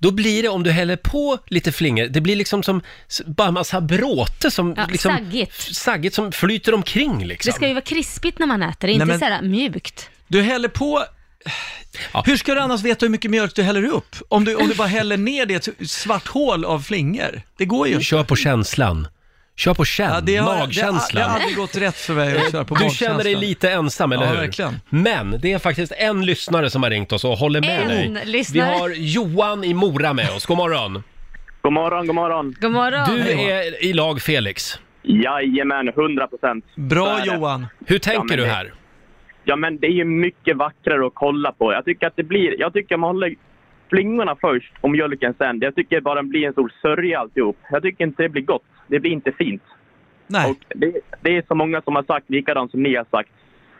Speaker 1: då blir det om du häller på lite flingor, det blir liksom som s- bara massa bråte som...
Speaker 2: Ja,
Speaker 1: liksom,
Speaker 2: saggigt.
Speaker 1: Saggigt som flyter omkring liksom.
Speaker 2: Det ska ju vara krispigt när man äter, inte
Speaker 1: Nej, men-
Speaker 2: så här mjukt.
Speaker 9: Du häller på... Hur ska du annars veta hur mycket mjölk du häller upp? Om du, om du bara häller ner det i ett svart hål av flingor. Det går ju
Speaker 1: Kör på känslan. Kör på känn,
Speaker 9: det har-
Speaker 1: magkänslan.
Speaker 9: Det har aldrig gått rätt för mig att köra på
Speaker 1: Du
Speaker 9: magkänslan.
Speaker 1: känner dig lite ensam, eller
Speaker 9: Ja,
Speaker 1: hur?
Speaker 9: verkligen.
Speaker 1: Men det är faktiskt en lyssnare som har ringt oss och håller med
Speaker 2: En
Speaker 1: dig.
Speaker 2: lyssnare.
Speaker 1: Vi har Johan i Mora med oss. God morgon.
Speaker 13: God morgon, god morgon.
Speaker 2: God morgon.
Speaker 1: Du är i lag Felix.
Speaker 13: Jajamän, 100 procent.
Speaker 9: Bra Johan.
Speaker 1: Hur tänker du här?
Speaker 13: Ja, men det är ju mycket vackrare att kolla på. Jag tycker att det blir... Jag tycker man håller flingorna först och mjölken sen. Jag tycker bara det blir en stor sörja alltihop. Jag tycker inte det blir gott. Det blir inte fint.
Speaker 9: Nej.
Speaker 13: Och det, det är så många som har sagt likadant som ni har sagt.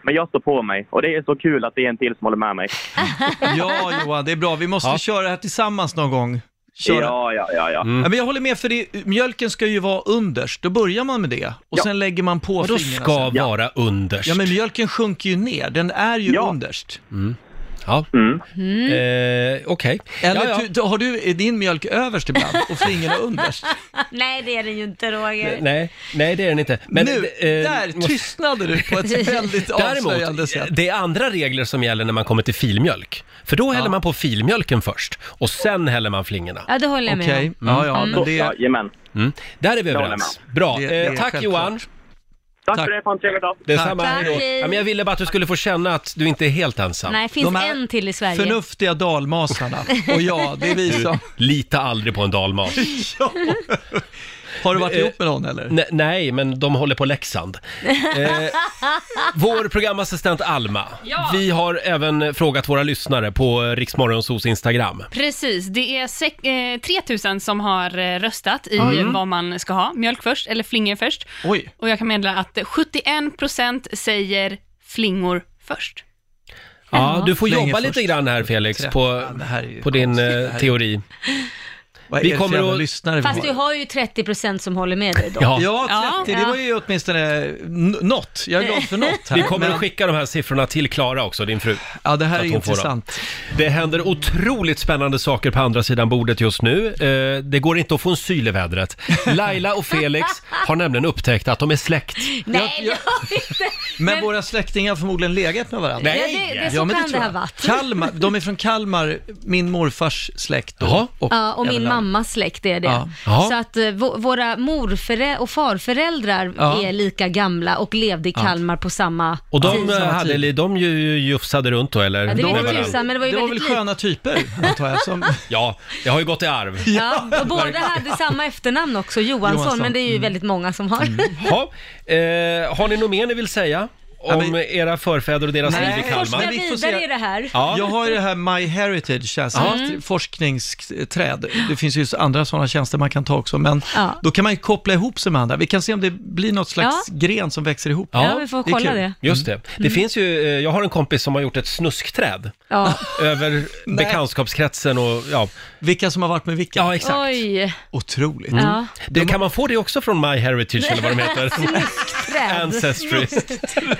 Speaker 13: Men jag står på mig och det är så kul att det är en till som håller med mig.
Speaker 9: Ja Johan, det är bra. Vi måste
Speaker 13: Ja.
Speaker 9: köra här tillsammans någon gång. Köra.
Speaker 13: Ja, ja, ja, ja.
Speaker 1: Mm.
Speaker 9: Ja, men jag håller med, för det, mjölken ska ju vara underst. Då börjar man med det och sen lägger man på
Speaker 1: Vadå
Speaker 9: fingrarna
Speaker 1: ska
Speaker 9: sen. Ja.
Speaker 1: vara underst?
Speaker 9: Ja, men mjölken sjunker ju ner. Den är ju underst.
Speaker 1: Mm. Ja.
Speaker 13: Mm.
Speaker 1: Eh, Okej.
Speaker 9: Eller
Speaker 1: Ja, ja.
Speaker 9: Du, du- har du är din mjölk överst ibland och flingorna underst?
Speaker 2: Nej, det är det ju inte Roger.
Speaker 1: Nej, nej det är den inte. eh,
Speaker 9: Nu, där tystnade du på ett väldigt avslöjande sätt.
Speaker 1: Däremot, det är andra regler som gäller när man kommer till filmjölk. För då häller man på filmjölken först och sen häller man flingorna.
Speaker 2: Ja, det håller jag med
Speaker 1: Okej.
Speaker 2: om.
Speaker 1: Ja, ja, men det-
Speaker 13: Jajamän.
Speaker 1: Mm. Där är vi
Speaker 13: Jag håller
Speaker 1: överens.
Speaker 13: med.
Speaker 1: Bra.
Speaker 13: Det-
Speaker 1: Eh,
Speaker 13: det är
Speaker 1: tack
Speaker 13: självklart.
Speaker 1: Johan.
Speaker 13: Tack, för det, ha en trevlig dag.
Speaker 1: Detsamma. Hej då. Ja, men jag ville bara att du skulle få känna att du inte är helt ensam.
Speaker 2: Nej, finns en till i Sverige.
Speaker 9: förnuftiga dalmasarna. Och ja, det är vi
Speaker 1: Du,
Speaker 9: som...
Speaker 1: Lita aldrig på en dalmas.
Speaker 9: Har du varit
Speaker 1: Eh,
Speaker 9: ihop med någon eller?
Speaker 1: Ne- nej, men de håller på Leksand. Eh, vår programassistent Alma.
Speaker 14: Ja.
Speaker 1: Vi har även frågat våra lyssnare på Riksmorgonsos Instagram.
Speaker 14: Precis, det är sek- eh, 3000 som har eh, röstat i
Speaker 1: Oj.
Speaker 9: Mm.
Speaker 14: vad man ska ha, mjölk först eller flingor först.
Speaker 1: Oj.
Speaker 14: Och jag kan meddela att 71% säger flingor först.
Speaker 1: Ja, du får
Speaker 9: Länge
Speaker 1: jobba
Speaker 9: först.
Speaker 1: lite grann här Felix, på, på din eh, teori.
Speaker 9: Vad är det för jävla lyssnare vi
Speaker 2: Fast
Speaker 9: har?
Speaker 2: du har ju 30% som håller med dig då.
Speaker 1: Ja.
Speaker 9: Ja, 30, det var ju åtminstone n- något. Jag är glad för något här.
Speaker 1: Vi kommer
Speaker 9: Men-
Speaker 1: att skicka de här siffrorna till Klara också, din fru.
Speaker 9: Ja, det här är
Speaker 1: intressant. Det händer otroligt spännande saker på andra sidan bordet just nu. Eh, det går inte att få en syl i vädret. Laila och Felix har nämligen upptäckt att de är släkt.
Speaker 2: Nej, jag,
Speaker 9: Men, våra släktingar har förmodligen legat med varandra.
Speaker 1: Nej. Ja, det- det-
Speaker 2: så kan det
Speaker 9: tror jag.
Speaker 2: ha varit.
Speaker 9: Kalmar, de är från Kalmar, min morfars släkt då. Och,
Speaker 2: ja, och min
Speaker 9: även-
Speaker 2: mammas släkt är det.
Speaker 9: Ja. Ja.
Speaker 2: Så att eh, vå- våra morföräldrar och farföräldrar
Speaker 1: Ja.
Speaker 2: är lika gamla och levde i
Speaker 1: Ja.
Speaker 2: Kalmar på samma
Speaker 1: Och de,
Speaker 2: tid.
Speaker 1: eh, hade, de ju ju jufsade runt då eller?
Speaker 2: Ja, det vet
Speaker 1: Med
Speaker 2: tusan,
Speaker 1: varandra.
Speaker 2: men det var ju
Speaker 9: det var väl
Speaker 2: väldigt likt.
Speaker 9: sköna typer, antar jag. Som...
Speaker 1: Ja, det har ju gått i arv.
Speaker 2: Ja, och båda
Speaker 1: Verkligen.
Speaker 2: hade samma efternamn också, Johansson,
Speaker 1: Johansson, Mm.
Speaker 2: men det är ju väldigt många som har.
Speaker 1: Ja, eh, har ni något mer ni vill säga om era förfäder och deras
Speaker 9: Nej.
Speaker 1: liv i
Speaker 2: Forska
Speaker 1: Kalmar?
Speaker 2: vidare i det här.
Speaker 1: Ja.
Speaker 9: Jag har ju det här My Heritage tjänsten,
Speaker 2: Ja.
Speaker 1: Mm.
Speaker 9: ett forskningsträd. Det finns ju andra sådana tjänster man kan ta också, men
Speaker 2: Ja.
Speaker 9: då kan man ju koppla ihop sig med andra. Vi kan se om det blir något slags
Speaker 2: Ja.
Speaker 9: gren som växer ihop.
Speaker 1: Ja, Ja, vi får
Speaker 9: är
Speaker 1: kolla
Speaker 9: kul. Mm.
Speaker 1: det. Just det. Det finns ju, eh, jag har en kompis som har gjort ett snuskträd
Speaker 2: Ja.
Speaker 1: över bekantskapskretsen och ja.
Speaker 9: Vilka som har varit med vilka?
Speaker 1: Ja, exakt.
Speaker 2: Oj.
Speaker 9: Otroligt.
Speaker 1: Mm.
Speaker 2: Ja.
Speaker 1: Det, kan man få det också från My Heritage eller vad de heter?
Speaker 2: Snuskträd.
Speaker 1: Ancestry.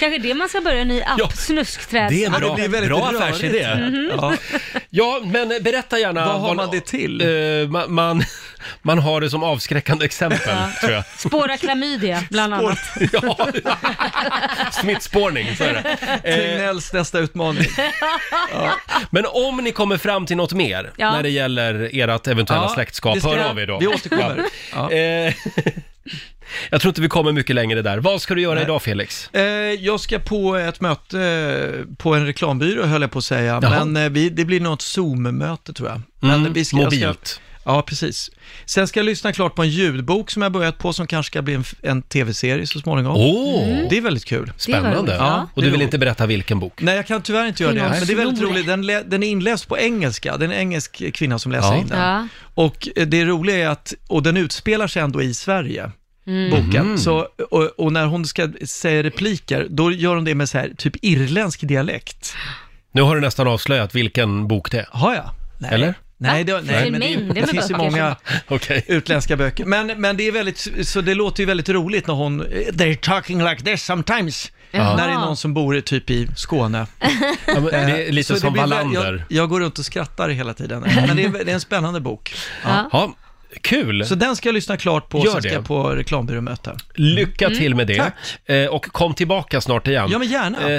Speaker 2: Kanske det man ska börja en ny app, Snuskträd.
Speaker 1: Det är en bra, bra affärsidé.
Speaker 2: Mhm.
Speaker 1: Ja. ja, men berätta gärna.
Speaker 9: Vad har man det till?
Speaker 1: Eh, man, man, man har det som avskräckande exempel,
Speaker 2: Ja.
Speaker 1: tror jag.
Speaker 2: Spåra klamydia, bland annat.
Speaker 1: Smittspårning, så är det. Eh,
Speaker 9: Tegnells nästa utmaning.
Speaker 1: Men om ni kommer fram till något mer
Speaker 9: Ja.
Speaker 1: när det gäller ert eventuella
Speaker 9: Ja,
Speaker 1: släktskap,
Speaker 9: det ska-
Speaker 1: hör av er då.
Speaker 9: vi återkommer.
Speaker 1: Ja. Eh, jag tror inte vi kommer mycket längre där. Vad ska du göra idag, Felix?
Speaker 9: Eh, jag ska på ett möte eh, på en reklambyrå, höll jag på att säga.
Speaker 1: Jaha.
Speaker 9: Men eh, vi, det blir något Zoom-möte, tror jag. Men
Speaker 1: Mm,
Speaker 9: vi ska, jag
Speaker 1: mobilt.
Speaker 9: Ska, ja, precis. Sen ska jag lyssna klart på en ljudbok som jag börjat på, som kanske ska bli en, f- en tv-serie så småningom.
Speaker 1: Åh! Mm.
Speaker 9: Det är väldigt kul.
Speaker 1: Spännande. Och du vill inte berätta vilken bok?
Speaker 9: Nej, jag kan tyvärr inte göra det,
Speaker 1: Kvinnans
Speaker 9: men det är väldigt
Speaker 1: förlorare.
Speaker 9: roligt. Den, lä- den är inläst på engelska. Det är en engelsk kvinna som läser
Speaker 1: Ja.
Speaker 9: in den.
Speaker 1: Ja.
Speaker 9: Och eh, det roliga är att, och den utspelar sig ändå i Sverige,
Speaker 1: Mm.
Speaker 9: boken.
Speaker 1: Mhm.
Speaker 9: Så, och, och när hon ska säga repliker, då gör hon det med så här, typ irländsk dialekt.
Speaker 1: Nu har du nästan avslöjat vilken bok det är.
Speaker 9: Har jag?
Speaker 1: Eller?
Speaker 9: Nej, det,
Speaker 1: Nej.
Speaker 9: nej men
Speaker 1: Det är
Speaker 9: det,
Speaker 1: mängder
Speaker 9: det
Speaker 1: med
Speaker 9: finns ju
Speaker 1: böcker
Speaker 9: många utländska böcker. Men, men det är väldigt, så det låter ju väldigt roligt när hon, eh, they're talking like this sometimes.
Speaker 1: Jaha.
Speaker 9: När det är någon som bor typ i Skåne.
Speaker 1: Ja, men det är lite
Speaker 9: eh, Så
Speaker 1: som
Speaker 9: blir vä-
Speaker 1: Wallander.
Speaker 9: Jag, jag går runt och skrattar hela tiden. Eh, Men det är, det är en spännande bok.
Speaker 1: Ja. kul!
Speaker 9: Så den ska jag lyssna klart på,
Speaker 1: Gör
Speaker 9: sen ska
Speaker 1: det.
Speaker 9: jag på reklambyråmöte. Mm.
Speaker 1: Lycka till med det.
Speaker 9: Tack.
Speaker 1: Eh, och kom tillbaka snart igen.
Speaker 9: Ja, men gärna.
Speaker 1: Eh,